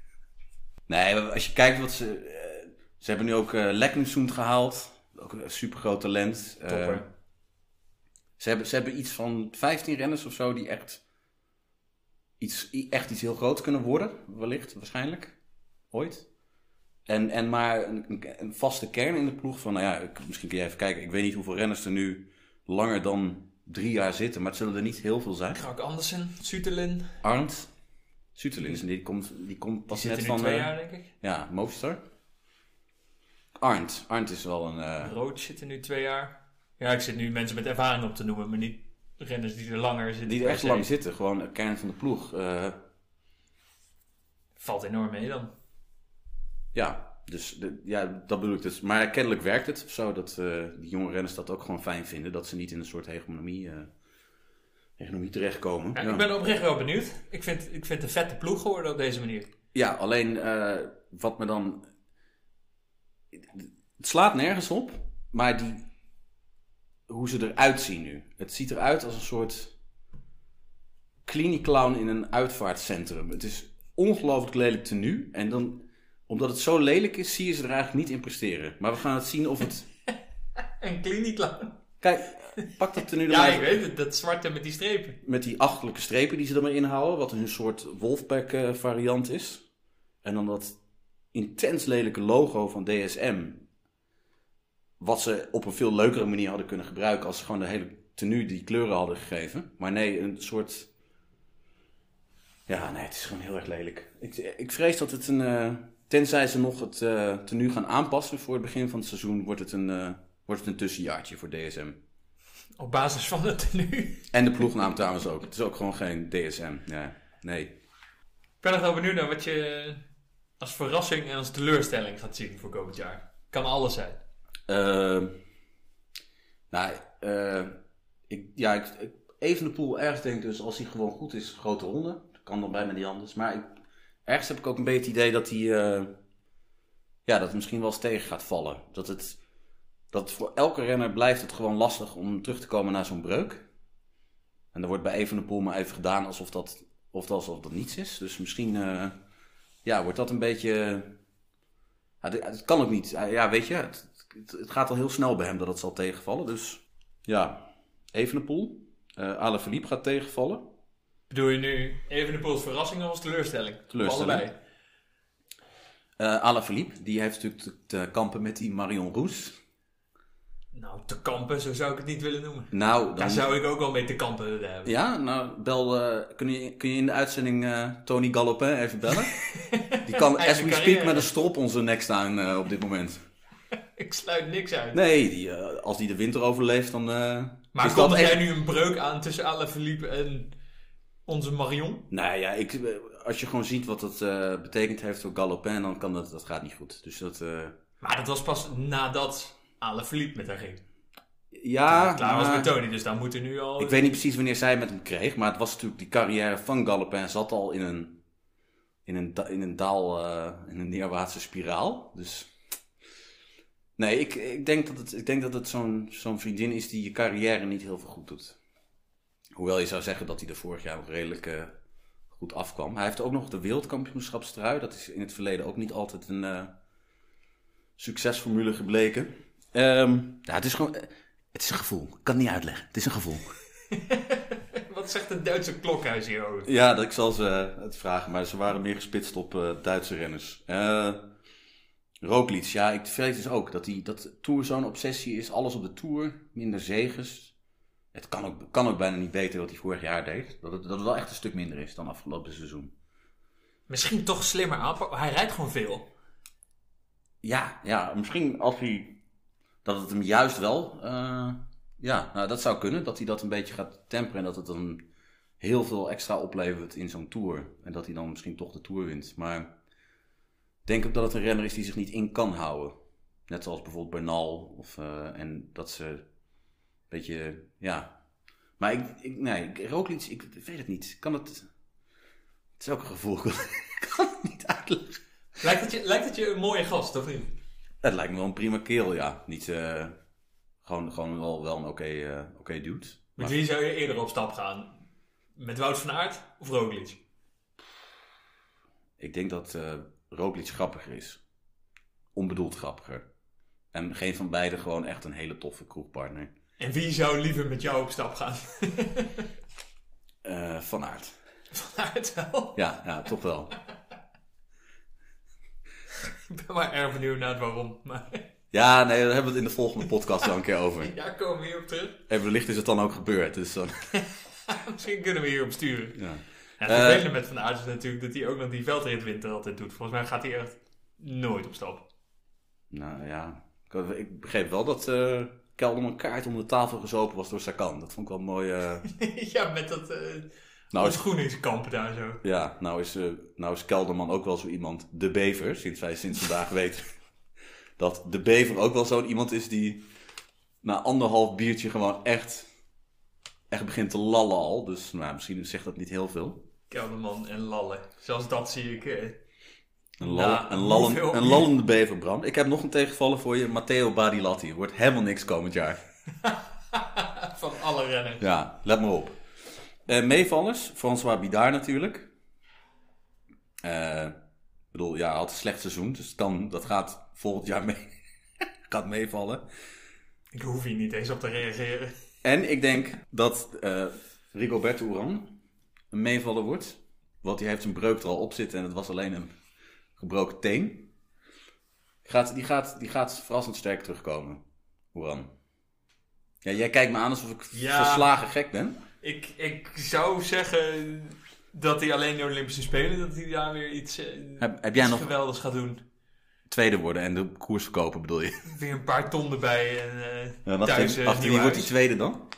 Speaker 3: nee, maar als je kijkt wat ze... eh, ze hebben nu ook eh Lekkensoend gehaald. Ook een supergroot talent. Eh,
Speaker 2: Topper.
Speaker 3: ze, hebben, ze hebben iets van 15 renners of zo die echt iets, i- echt iets heel groots kunnen worden. Wellicht, waarschijnlijk. Ooit. En, en maar een, een- een vaste kern in de ploeg van... Nou ja, ik- misschien kun je even kijken. Ik weet niet hoeveel renners er nu langer dan drie jaar zitten. Maar het zullen er niet heel veel zijn.
Speaker 2: Krak Andersen, Suterlin. Die
Speaker 3: Arndt Suterlins, die komt, die komt pas
Speaker 2: zitten
Speaker 3: net
Speaker 2: nu
Speaker 3: van...
Speaker 2: twee
Speaker 3: eh,
Speaker 2: jaar, denk ik.
Speaker 3: Ja, Movistar. Arndt. Arndt is wel een... eh,
Speaker 2: Rood zit er nu twee jaar. Ja, ik zit nu mensen met ervaring op te noemen, maar niet renners die er langer zitten.
Speaker 3: die er
Speaker 2: per
Speaker 3: echt
Speaker 2: se.
Speaker 3: lang zitten. Gewoon een kern van de ploeg. eh,
Speaker 2: Valt enorm mee dan.
Speaker 3: ja, dus de- ja, dat bedoel ik dus. Maar kennelijk werkt het of zo. Dat eh, die jonge renners dat ook gewoon fijn vinden. Dat ze niet in een soort hegemonie eh, economie terechtkomen.
Speaker 2: Ja, Ik ben oprecht wel benieuwd. Ik vind, ik vind het een vette ploeg geworden op deze manier.
Speaker 3: Ja, alleen eh, wat me dan. Het slaat nergens op, maar die. Hoe ze eruit zien nu. Het ziet eruit als een soort. klinieclown in een uitvaartcentrum. Het is ongelooflijk lelijk tenue. En dan, omdat het zo lelijk is, zie je ze er eigenlijk niet in presteren. Maar we gaan het zien of het.
Speaker 2: Een klinieklaar.
Speaker 3: Kijk, pak dat tenue er
Speaker 2: Ja,
Speaker 3: maar
Speaker 2: ik weet het. Dat zwarte met die strepen.
Speaker 3: met die achterlijke strepen die ze er maar inhouden, wat een soort Wolfpack eh, variant is. En dan dat intens lelijke logo van DSM, wat ze op een veel leukere manier hadden kunnen gebruiken als ze gewoon de hele tenue die kleuren hadden gegeven. Maar nee, een soort... Ja, nee, het is gewoon heel erg lelijk. Ik, ik vrees dat het een... eh, tenzij ze nog het eh, tenue gaan aanpassen voor het begin van het seizoen, wordt het een, eh, wordt het een tussenjaartje voor DSM.
Speaker 2: Op basis van het tenue.
Speaker 3: En de ploegnaam trouwens ook. Het is ook gewoon geen DSM. Ja, nee.
Speaker 2: Ik ben nog wel benieuwd naar wat je als verrassing en als teleurstelling gaat zien voor komend jaar. Kan alles zijn.
Speaker 3: Ehm, nou, eh, ik, ja, ik, ik, even de pool ergens denk ik dus als hij gewoon goed is, grote ronde. Dat kan dan bijna niet anders. Maar ik, ergens heb ik ook een beetje het idee dat hij, eh, ja, dat het misschien wel eens tegen gaat vallen. Dat het, dat voor elke renner blijft het gewoon lastig om terug te komen naar zo'n breuk. En er wordt bij even de pool maar even gedaan alsof dat, of dat, alsof dat niets is. Dus misschien, eh, ja, wordt dat een beetje ja, dit- het kan ook niet. Hij- Ja, weet je, het, het, het gaat al heel snel bij hem dat het zal tegenvallen. Dus ja, Evenepoel. eh Ale Philippe gaat tegenvallen.
Speaker 2: Bedoel je nu even de pols verrassing of als teleurstelling?
Speaker 3: Teleurstelling.
Speaker 2: Op allebei.
Speaker 3: Eh Ale Philippe, die heeft natuurlijk te, te kampen met die Marion Roes.
Speaker 2: Nou, te kampen, zo zou ik het niet willen noemen.
Speaker 3: Nou, dan,
Speaker 2: Daar zou ik ook wel mee te kampen willen hebben.
Speaker 3: ja, nou, bel, eh, kun, je, kun je in de uitzending eh, Tony Gallopin even bellen? die kan, as
Speaker 2: Eigen
Speaker 3: we speak,
Speaker 2: carrière.
Speaker 3: met een strop onze nek staan eh, op dit moment.
Speaker 2: Ik sluit niks uit.
Speaker 3: Nee, die, eh, als die de winter overleeft, dan eh,
Speaker 2: maar
Speaker 3: is dat
Speaker 2: komt
Speaker 3: echt-
Speaker 2: jij nu een breuk aan tussen Alain Philippe en onze Marion?
Speaker 3: Nou ja, ik, als je gewoon ziet wat dat eh, betekend heeft voor Galopin, dan kan dat, dat gaat niet goed. Dus dat, eh,
Speaker 2: Maar dat was pas nadat Alain Philippe met haar ging.
Speaker 3: ja,
Speaker 2: Klaar was
Speaker 3: maar
Speaker 2: met Tony, dus daar moeten nu al...
Speaker 3: Ah, ik weet niet precies wanneer zij met hem kreeg, maar het was natuurlijk die carrière van Galopin zat al in een, in een, da- in een daal, eh, in een neerwaartse spiraal. Dus nee, ik, ik denk dat het, ik denk dat het zo'n, zo'n vriendin is die je carrière niet heel veel goed doet. Hoewel je zou zeggen dat hij er vorig jaar nog redelijk eh, goed afkwam. Hij heeft ook nog de wereldkampioenschapstrui. Dat is in het verleden ook niet altijd een eh, succesformule gebleken. Ehm, ja, het is gewoon... eh, Het is een gevoel. Ik kan het niet uitleggen. Het is een gevoel.
Speaker 2: Wat zegt het Duitse klokhuis hierover?
Speaker 3: Ja, dat ik zal ze eh, het vragen, maar ze waren meer gespitst op eh, Duitse renners. Eh Roglic, ja, ik vrees dus ook dat, die, dat de Tour zo'n obsessie is. Alles op de Tour, minder zegens. Het kan ook, kan ook bijna niet beter wat hij vorig jaar deed. Dat het, dat het wel echt een stuk minder is dan afgelopen seizoen.
Speaker 2: Misschien toch slimmer aanpak. Hij rijdt gewoon veel.
Speaker 3: Ja, ja misschien als hij... Dat het hem juist wel... eh, ja, nou, dat zou kunnen. Dat hij dat een beetje gaat temperen en dat het dan heel veel extra oplevert in zo'n Tour. En dat hij dan misschien toch de Tour wint. Maar... Ik denk ook dat het een renner is die zich niet in kan houden. Net zoals bijvoorbeeld Bernal. Of, eh, en dat ze een beetje, ja. Maar ik, ik nee, ik- Roglic, ik weet het niet. Ik Kan het, het is ook een gevoel. Ik kan het niet uitleggen.
Speaker 2: Lijkt het, je, lijkt het je een mooie gast, of niet?
Speaker 3: Het lijkt me wel een prima keel, ja. Niet, eh, gewoon, gewoon wel, wel een oké eh, oké dude.
Speaker 2: Met wie zou je eerder op stap gaan? Met Wout van Aert of Roglic?
Speaker 3: Ik denk dat eh Roglic grappiger is. Onbedoeld grappiger. En geen van beiden gewoon echt een hele toffe kroegpartner.
Speaker 2: En wie zou liever met jou op stap gaan?
Speaker 3: Eh, van aard.
Speaker 2: Van Aert wel.
Speaker 3: Ja, ja, toch wel.
Speaker 2: Ik ben maar erg benieuwd naar het waarom. Maar
Speaker 3: Ja, nee, daar hebben we het in de volgende podcast wel een keer over.
Speaker 2: daar komen we hier op terug.
Speaker 3: En wellicht is het dan ook gebeurd. Dus dan,
Speaker 2: Misschien kunnen we hierop sturen.
Speaker 3: ja.
Speaker 2: Ja, het vervelende met Van Aert is natuurlijk dat hij ook nog die veldritwinter altijd doet. Volgens mij gaat hij echt nooit op stap.
Speaker 3: Nou ja, ik, ik begreep wel dat eh Kelderman een kaart onder de tafel gezopen was door Sakan. Dat vond ik wel mooi. eh.
Speaker 2: ja, met dat eh
Speaker 3: Nou, is,
Speaker 2: ontgroeningskamp daar zo.
Speaker 3: ja, nou, is, eh, nou is Kelderman ook wel zo iemand, de bever, sinds wij sinds vandaag weten dat de bever ook wel zo'n iemand is die na anderhalf biertje gewoon echt echt begint te lallen al. Dus nou, misschien zegt dat niet heel veel.
Speaker 2: Kelderman en Lalle. Zelfs dat zie ik. eh,
Speaker 3: Een, lall-
Speaker 2: Nou,
Speaker 3: een, lallen-
Speaker 2: hoeveel?
Speaker 3: een lallende bever, Bram. Ik heb nog een tegenvaller voor je. Matteo Badilatti. Wordt helemaal niks komend jaar.
Speaker 2: van alle renners.
Speaker 3: Ja, let maar op. Eh, meevallers. François Bidard natuurlijk. Eh, ik bedoel, ja, hij had een slecht seizoen. Dus dan, dat gaat volgend jaar mee. gaat meevallen.
Speaker 2: Ik hoef hier niet eens op te reageren.
Speaker 3: En ik denk dat eh Rigoberto Uran een meevaller wordt. Want die heeft zijn breuk er al op zitten en het was alleen een gebroken teen. Gaat, die, gaat, die gaat verrassend sterk terugkomen, Uran. Ja, jij kijkt me aan alsof ik
Speaker 2: Ja.
Speaker 3: verslagen gek ben.
Speaker 2: Ik, ik zou zeggen dat hij alleen de Olympische Spelen, dat hij daar weer iets, eh,
Speaker 3: Heb, heb jij
Speaker 2: iets
Speaker 3: nog
Speaker 2: geweldigs gaat doen.
Speaker 3: tweede worden en de koers verkopen, bedoel je?
Speaker 2: Weer een paar ton erbij en eh,
Speaker 3: Ja, wacht
Speaker 2: thuis
Speaker 3: even,
Speaker 2: eh,
Speaker 3: wacht,
Speaker 2: nieuw
Speaker 3: wie wordt die
Speaker 2: huis.
Speaker 3: tweede dan?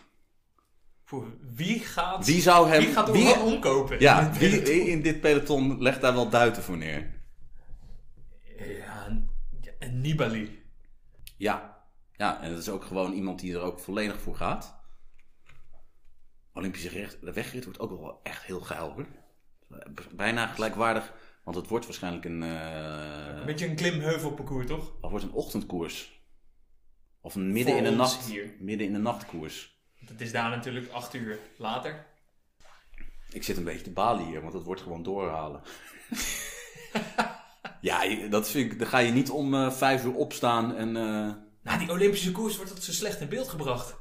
Speaker 2: Voor Wie gaat,
Speaker 3: Wie zou hem...
Speaker 2: wie gaat
Speaker 3: wie-
Speaker 2: Oran omkopen?
Speaker 3: ja, wie in dit peloton legt daar wel duiten voor neer?
Speaker 2: Ja, en- ja, en Nibali.
Speaker 3: Ja. ja, en dat is ook gewoon iemand die er ook volledig voor gaat. Olympische recht- de wegrit wordt ook wel echt heel geil hoor. Bijna gelijkwaardig, want het wordt waarschijnlijk een, eh,
Speaker 2: Een beetje een klimheuvelparcours, toch?
Speaker 3: het wordt een ochtendkoers. Of een midden
Speaker 2: Voor
Speaker 3: in de
Speaker 2: ons
Speaker 3: nacht.
Speaker 2: hier.
Speaker 3: Midden in de nachtkoers.
Speaker 2: Het is daar natuurlijk acht uur later.
Speaker 3: Ik zit een beetje te balen hier, want het wordt gewoon doorhalen. ja, je- dat vind ik, daar ga je niet om eh, vijf uur opstaan en eh,
Speaker 2: Na die Olympische koers wordt dat zo slecht in beeld gebracht.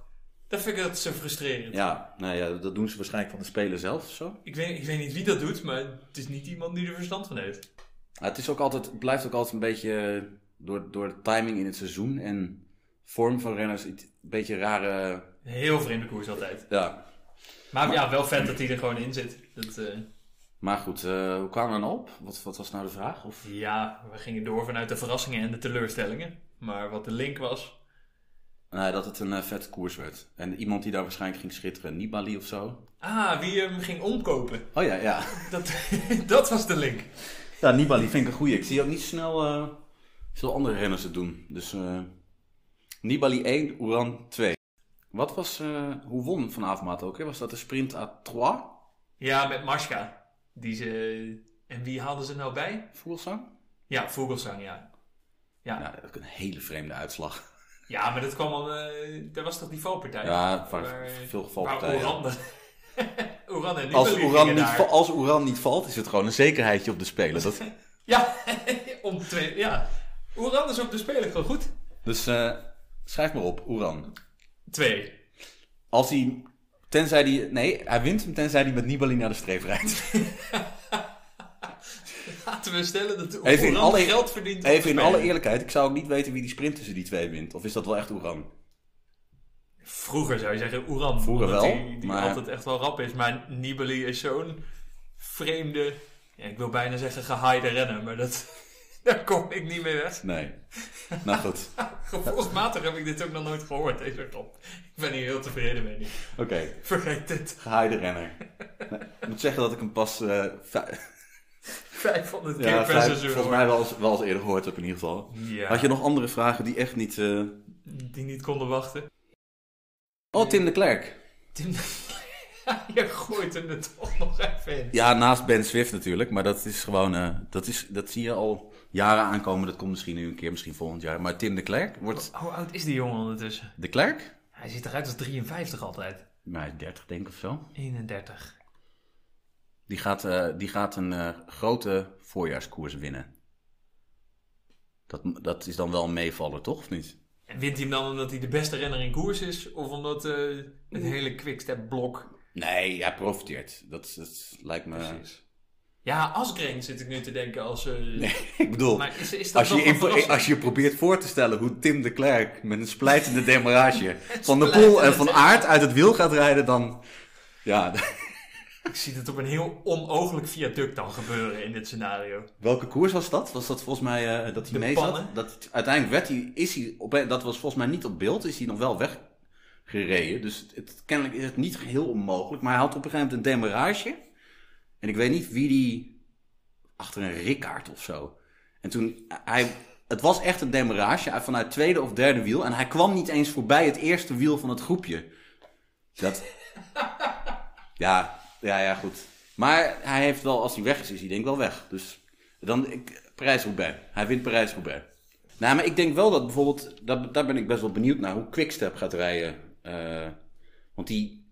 Speaker 2: Dat vind ik dat zo frustrerend.
Speaker 3: ja, nou ja, dat doen ze waarschijnlijk van de speler zelf of zo.
Speaker 2: Ik, weet, ik weet niet wie dat doet, maar het is niet iemand die er verstand van heeft.
Speaker 3: Ja, het is ook altijd, het blijft ook altijd een beetje eh, door, door de timing in het seizoen en vorm van renners iets- een beetje rare.
Speaker 2: Een heel vreemde koers altijd.
Speaker 3: Ja,
Speaker 2: Maar ja, wel vet dat hij er gewoon in zit. Dat, eh,
Speaker 3: maar goed, eh, hoe kwamen we dan op? Wat, wat was nou de vraag? Of...
Speaker 2: ja, we gingen door vanuit de verrassingen en de teleurstellingen. Maar wat de link was...
Speaker 3: Nou, dat het een eh, vette koers werd. En iemand die daar waarschijnlijk ging schitteren, Nibali of zo.
Speaker 2: Ah, wie hem ging omkopen.
Speaker 3: Oh ja, ja.
Speaker 2: Dat, dat was de link.
Speaker 3: Ja, Nibali vind ik een goeie. Ik zie ook niet snel eh, veel andere renners het doen. Dus eh, Nibali 1, Uran 2. Wat was, eh, hoe won vanavond Maat ook? Hè? Was dat de sprint à 3?
Speaker 2: Ja, met Marska. Die ze... En wie haalden ze nou bij?
Speaker 3: Voelsang?
Speaker 2: Ja, Vogelsang, ja.
Speaker 3: Ja, dat is ook een hele vreemde uitslag.
Speaker 2: Ja, maar dat kwam al... eh daar was toch die valpartij?
Speaker 3: Ja, vaak-
Speaker 2: Waar-
Speaker 3: veel
Speaker 2: Waar
Speaker 3: gevalpartijen.
Speaker 2: Oran de- Oran en
Speaker 3: Als
Speaker 2: Nibali
Speaker 3: Oeran,
Speaker 2: gingen
Speaker 3: niet,
Speaker 2: daar.
Speaker 3: va- als Oeran niet valt, is het gewoon een zekerheidje op de speler. Dat,
Speaker 2: Ja, om twee... Ja. Oran is op de speler gewoon goed.
Speaker 3: dus eh, schrijf maar op, Oeran.
Speaker 2: Twee.
Speaker 3: Als hij, tenzij hij, nee, hij wint hem tenzij hij met Nibali naar de streep rijdt.
Speaker 2: Laten we stellen dat Oran
Speaker 3: Even in alle- e-
Speaker 2: geld verdient. op
Speaker 3: Even
Speaker 2: de
Speaker 3: in
Speaker 2: speler.
Speaker 3: alle eerlijkheid, ik zou ook niet weten wie die sprint tussen die twee wint. Of is dat wel echt Oeran?
Speaker 2: Vroeger zou je zeggen Oran.
Speaker 3: Vroeger
Speaker 2: omdat
Speaker 3: wel,
Speaker 2: Die, die
Speaker 3: maar-
Speaker 2: altijd echt wel rap is. Maar Nibali is zo'n vreemde... Ja, ik wil bijna zeggen gehaaide renner, maar dat... Daar kom ik niet mee weg.
Speaker 3: Nee. nou goed,
Speaker 2: Gevoelsmatig heb ik dit ook nog nooit gehoord, deze top. Ik ben hier heel tevreden mee. nu.
Speaker 3: oké.
Speaker 2: Vergeet dit.
Speaker 3: Gehaaide renner. Nee, ik moet zeggen dat ik hem pas, eh, vij-
Speaker 2: 500 keer
Speaker 3: ja,
Speaker 2: per
Speaker 3: vijf-
Speaker 2: seizoen.
Speaker 3: volgens mij wel eens, wel eens eerder gehoord heb in ieder geval.
Speaker 2: Ja,
Speaker 3: Had je nog andere vragen die echt niet... eh,
Speaker 2: die niet konden wachten.
Speaker 3: Oh, Tim de Klerk.
Speaker 2: Tim, je gooit hem er toch nog even in.
Speaker 3: Ja, naast Ben Swift natuurlijk, maar dat is gewoon, eh, dat, is, dat zie je al jaren aankomen. Dat komt misschien nu een keer, misschien volgend jaar. Maar Tim de Klerk wordt.
Speaker 2: Hoe oud is die jongen ondertussen?
Speaker 3: De Klerk?
Speaker 2: Hij ziet eruit als 53 altijd.
Speaker 3: Maar hij is 30, denk ik of zo.
Speaker 2: 31.
Speaker 3: Die gaat, eh, die gaat een eh, grote voorjaarskoers winnen. Dat, dat is dan wel een meevaller, toch? Of niet?
Speaker 2: En wint hij hem dan omdat hij de beste renner in koers is? Of omdat eh, het hele quickstep blok...
Speaker 3: Nee, hij profiteert. Dat, is- dat lijkt me.
Speaker 2: Ja, Asgreen zit ik nu te denken als... eh,
Speaker 3: ik bedoel,
Speaker 2: Maar is, is dat
Speaker 3: als je,
Speaker 2: nog een
Speaker 3: in-
Speaker 2: verrassing?
Speaker 3: als je probeert voor te stellen hoe Tim de Klerk met een splijtende demarrage van de
Speaker 2: splijtende
Speaker 3: pool en van aard uit het wiel gaat rijden, dan. Ja,
Speaker 2: Ik zie het op een heel onooglijk viaduct dan gebeuren in dit scenario.
Speaker 3: Welke koers was dat? Was dat volgens mij eh, dat hij
Speaker 2: De
Speaker 3: mee
Speaker 2: pannen.
Speaker 3: zat? Dat, uiteindelijk werd hij, is hij op, dat was volgens mij niet op beeld, is hij nog wel weggereden. Dus het, het- kennelijk is het niet heel onmogelijk. Maar hij had op een gegeven moment een demarrage. En ik weet niet wie die, achter een Rickaard of zo. En toen, hij, het was echt een demarrage hij- vanuit tweede of derde wiel. En hij kwam niet eens voorbij het eerste wiel van het groepje. Dat, Ja, ja, ja, goed. Maar hij heeft wel, als hij weg is, is hij denk ik wel weg. Dus dan ik- Parijs-Roubaix. Hij wint Parijs-Roubaix. Nou, maar ik denk wel dat bijvoorbeeld, dat, daar ben ik best wel benieuwd naar, hoe Quickstep gaat rijden. Eh, want die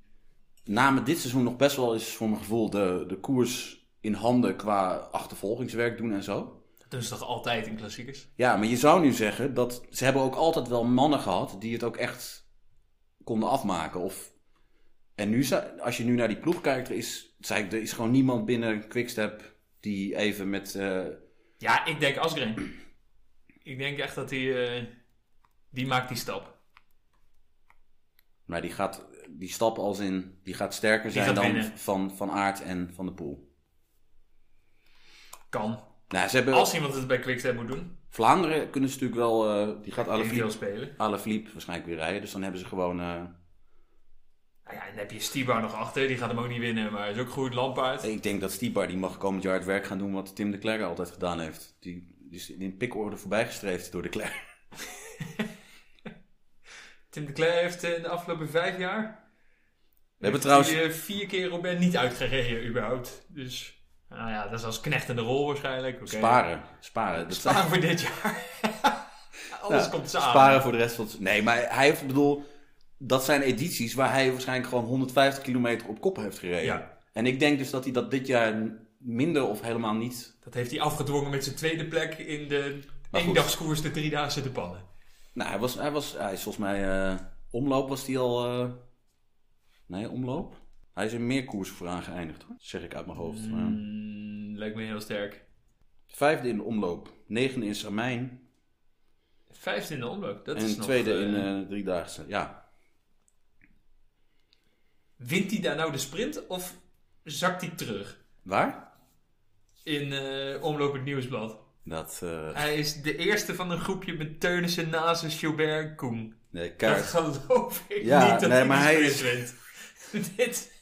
Speaker 3: namen dit seizoen nog best wel eens, voor mijn gevoel, de, de koers in handen qua achtervolgingswerk doen en zo.
Speaker 2: Dat doen ze toch altijd in klassiekers?
Speaker 3: Ja, maar je zou nu zeggen dat ze hebben ook altijd wel mannen gehad die het ook echt konden afmaken. Of, en nu, zou- als je nu naar die ploeg kijkt, er is, zei ik, er is gewoon niemand binnen Quickstep die even met... eh,
Speaker 2: Ja, ik denk Asgreen. Ik denk echt dat die... eh, die maakt die stap.
Speaker 3: maar nou, die gaat die stap als in, die gaat sterker zijn
Speaker 2: gaat
Speaker 3: dan
Speaker 2: winnen.
Speaker 3: van, van Aert en Van de Poel.
Speaker 2: Kan.
Speaker 3: Nou, ze hebben,
Speaker 2: Als iemand het bij Quickstep moet doen,
Speaker 3: Vlaanderen kunnen ze natuurlijk wel, eh, die gaat
Speaker 2: individueel
Speaker 3: Alaphilippe
Speaker 2: spelen.
Speaker 3: Alaphilippe waarschijnlijk weer rijden. Dus dan hebben ze gewoon... eh,
Speaker 2: Nou ja, en dan heb je Stibar nog achter. Die gaat hem ook niet winnen, maar is ook goed. Lampaard.
Speaker 3: Ik denk dat Stibar die mag komend jaar het werk gaan doen wat Tim de Klerk altijd gedaan heeft. Die, die is in pikorde voorbijgestreefd door de Klerk.
Speaker 2: Tim de Cler heeft eh, in de afgelopen vijf jaar...
Speaker 3: We hebben
Speaker 2: Heeft
Speaker 3: trouwens,
Speaker 2: hij, eh, vier keer Robert niet uitgereden, überhaupt. Dus, nou ja, dat is als knechtende rol waarschijnlijk. Oké.
Speaker 3: sparen. Sparen. Dat
Speaker 2: Sparen voor dit jaar. Alles
Speaker 3: Ja,
Speaker 2: komt samen.
Speaker 3: Sparen voor de rest van het... Nee, maar hij heeft, ik bedoel, dat zijn edities waar hij waarschijnlijk gewoon 150 kilometer op kop heeft gereden.
Speaker 2: Ja.
Speaker 3: En ik denk dus dat hij dat dit jaar minder of helemaal niet...
Speaker 2: Dat heeft hij afgedwongen met zijn tweede plek in de
Speaker 3: Maar goed.
Speaker 2: eendagskoers de driedaagse te pannen.
Speaker 3: Nou, hij was, hij was, hij is volgens mij, eh, omloop was hij al... eh, Nee, omloop? Hij is in meer koersen vooraan geëindigd, hoor. Dat zeg ik uit mijn hoofd.
Speaker 2: Hmm.
Speaker 3: maar-
Speaker 2: Mm, lijkt me heel sterk.
Speaker 3: Vijfde in de omloop, negende in Samijn
Speaker 2: Vijfde in de omloop, dat is
Speaker 3: en
Speaker 2: nog...
Speaker 3: tweede
Speaker 2: eh,
Speaker 3: in eh driedaagse. Ja,
Speaker 2: Wint hij daar nou de sprint of zakt hij terug?
Speaker 3: waar?
Speaker 2: In eh, Omloop het Nieuwsblad.
Speaker 3: Dat eh
Speaker 2: Hij is de eerste van een groepje met Teunissen, Nazen, Gilbert en Koen.
Speaker 3: nee,
Speaker 2: Dat
Speaker 3: kaart.
Speaker 2: geloof ik
Speaker 3: Ja,
Speaker 2: niet dat
Speaker 3: nee,
Speaker 2: hij
Speaker 3: maar
Speaker 2: maar
Speaker 3: hij
Speaker 2: hij
Speaker 3: is-
Speaker 2: wint. Dit...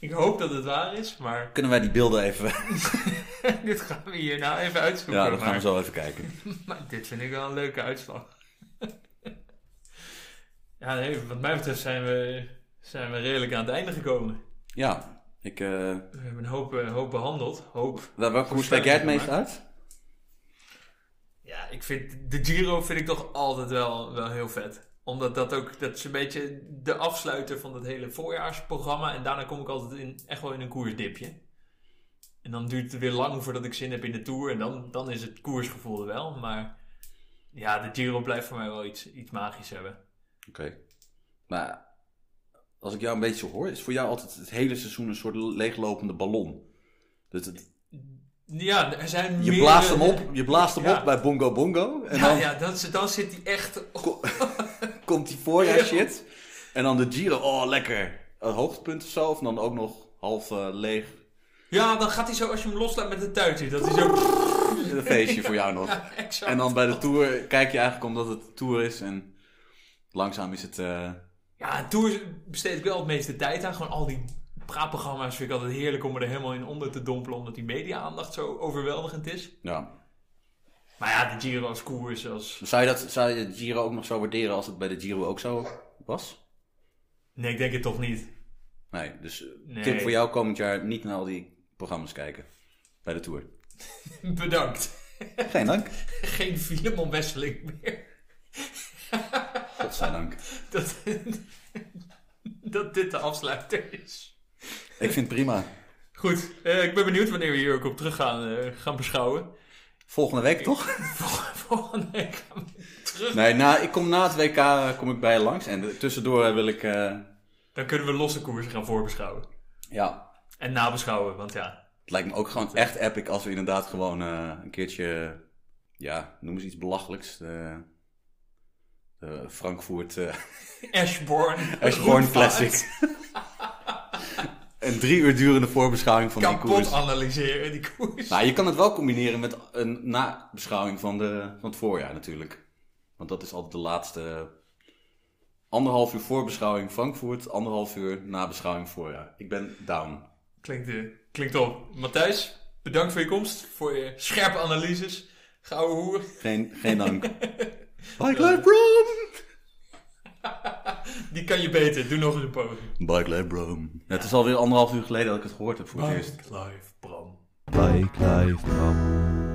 Speaker 2: ik hoop dat het waar is, maar
Speaker 3: Kunnen wij die beelden even?
Speaker 2: dit gaan we hier nou even uitzoeken.
Speaker 3: ja, dan gaan we
Speaker 2: maar-
Speaker 3: zo even kijken.
Speaker 2: maar dit vind ik wel een leuke uitslag. ja, nee, wat mij betreft zijn we, zijn we redelijk aan het einde gekomen.
Speaker 3: Ja, ik. eh
Speaker 2: We hebben een hoop, eh, hoop behandeld. Hoop.
Speaker 3: wel- welke koers kijk jij het meest uit?
Speaker 2: Ja, ik vind de Giro vind ik toch altijd wel, wel heel vet. Omdat dat ook, dat is een beetje de afsluiter van dat hele voorjaarsprogramma. En daarna kom ik altijd in, echt wel in een koersdipje. En dan duurt het weer lang voordat ik zin heb in de Tour. En dan, dan is het koersgevoel er wel. Maar ja, de Giro blijft voor mij wel iets, iets magisch hebben.
Speaker 3: Oké. Maar als ik jou een beetje zo hoor, is voor jou altijd het hele seizoen een soort leeglopende ballon. Dus het-
Speaker 2: Ja, er zijn
Speaker 3: je
Speaker 2: meerdere-
Speaker 3: blaast hem op, je blaast hem
Speaker 2: Ja.
Speaker 3: op bij Bongo Bongo. En
Speaker 2: Ja,
Speaker 3: dan
Speaker 2: ja dan, dan zit hij echt...
Speaker 3: komt die voorjaar shit. En dan de Giro, oh lekker. Een hoogtepunt of zo, of dan ook nog half eh, leeg.
Speaker 2: Ja, dan gaat hij zo, als je hem loslaat met een tuitje, dat hij zo...
Speaker 3: Een feestje voor jou nog.
Speaker 2: Exact.
Speaker 3: En dan bij de Tour kijk je eigenlijk omdat het de Tour is en langzaam is het... eh,
Speaker 2: Ja, en Tour besteed ik wel het meeste tijd aan. Gewoon al die praatprogramma's vind ik altijd heerlijk om er helemaal in onder te dompelen. Omdat die media-aandacht zo overweldigend is.
Speaker 3: ja.
Speaker 2: Maar ja, de Giro als koers, als...
Speaker 3: Zou je, dat, zou je de Giro ook nog zo waarderen als het bij de Giro ook zo was?
Speaker 2: Nee, ik denk het toch niet.
Speaker 3: Nee, dus eh,
Speaker 2: Nee.
Speaker 3: tip voor jou komend jaar niet naar al die programma's kijken bij de Tour.
Speaker 2: Bedankt.
Speaker 3: Geen dank.
Speaker 2: Geen Filemon Wesseling meer.
Speaker 3: Godzijdank.
Speaker 2: Dat, dat dit de afsluiter is.
Speaker 3: Ik vind het prima.
Speaker 2: Goed, eh, ik ben benieuwd wanneer we hier ook op terug gaan, eh, gaan beschouwen.
Speaker 3: Volgende week toch?
Speaker 2: Vol- Volgende week gaan we terug.
Speaker 3: Nee, na, ik kom na het WK eh, kom ik bij je langs en eh, tussendoor eh, wil ik... eh,
Speaker 2: Dan kunnen we losse koersen gaan voorbeschouwen.
Speaker 3: ja,
Speaker 2: En nabeschouwen, want ja,
Speaker 3: Het lijkt me ook gewoon echt epic als we inderdaad gewoon eh, een keertje, ja, noem eens iets belachelijks. eh, eh, Frankfurt eh
Speaker 2: Ashbourne.
Speaker 3: Ashbourne Classic. een drie uur durende voorbeschouwing van die
Speaker 2: Kapot
Speaker 3: koers.
Speaker 2: analyseren, die koers.
Speaker 3: Nou, je kan het wel combineren met een nabeschouwing van, de, van het voorjaar natuurlijk. Want dat is altijd de laatste anderhalf uur voorbeschouwing Frankfurt, anderhalf uur nabeschouwing voorjaar. Ik ben down.
Speaker 2: Klinkt, eh, klinkt op. Matthijs, bedankt voor je komst, voor je scherpe analyses. Gouden hoer.
Speaker 3: Geen, geen dank. Bye, Clive Brom!
Speaker 2: Die kan je beter. Doe nog eens een poging.
Speaker 3: Bike Life Bram. Ja, het is Nou. alweer anderhalf uur geleden dat ik het gehoord heb voor het eerst.
Speaker 2: Live, Bram.
Speaker 1: Bike Life Bram.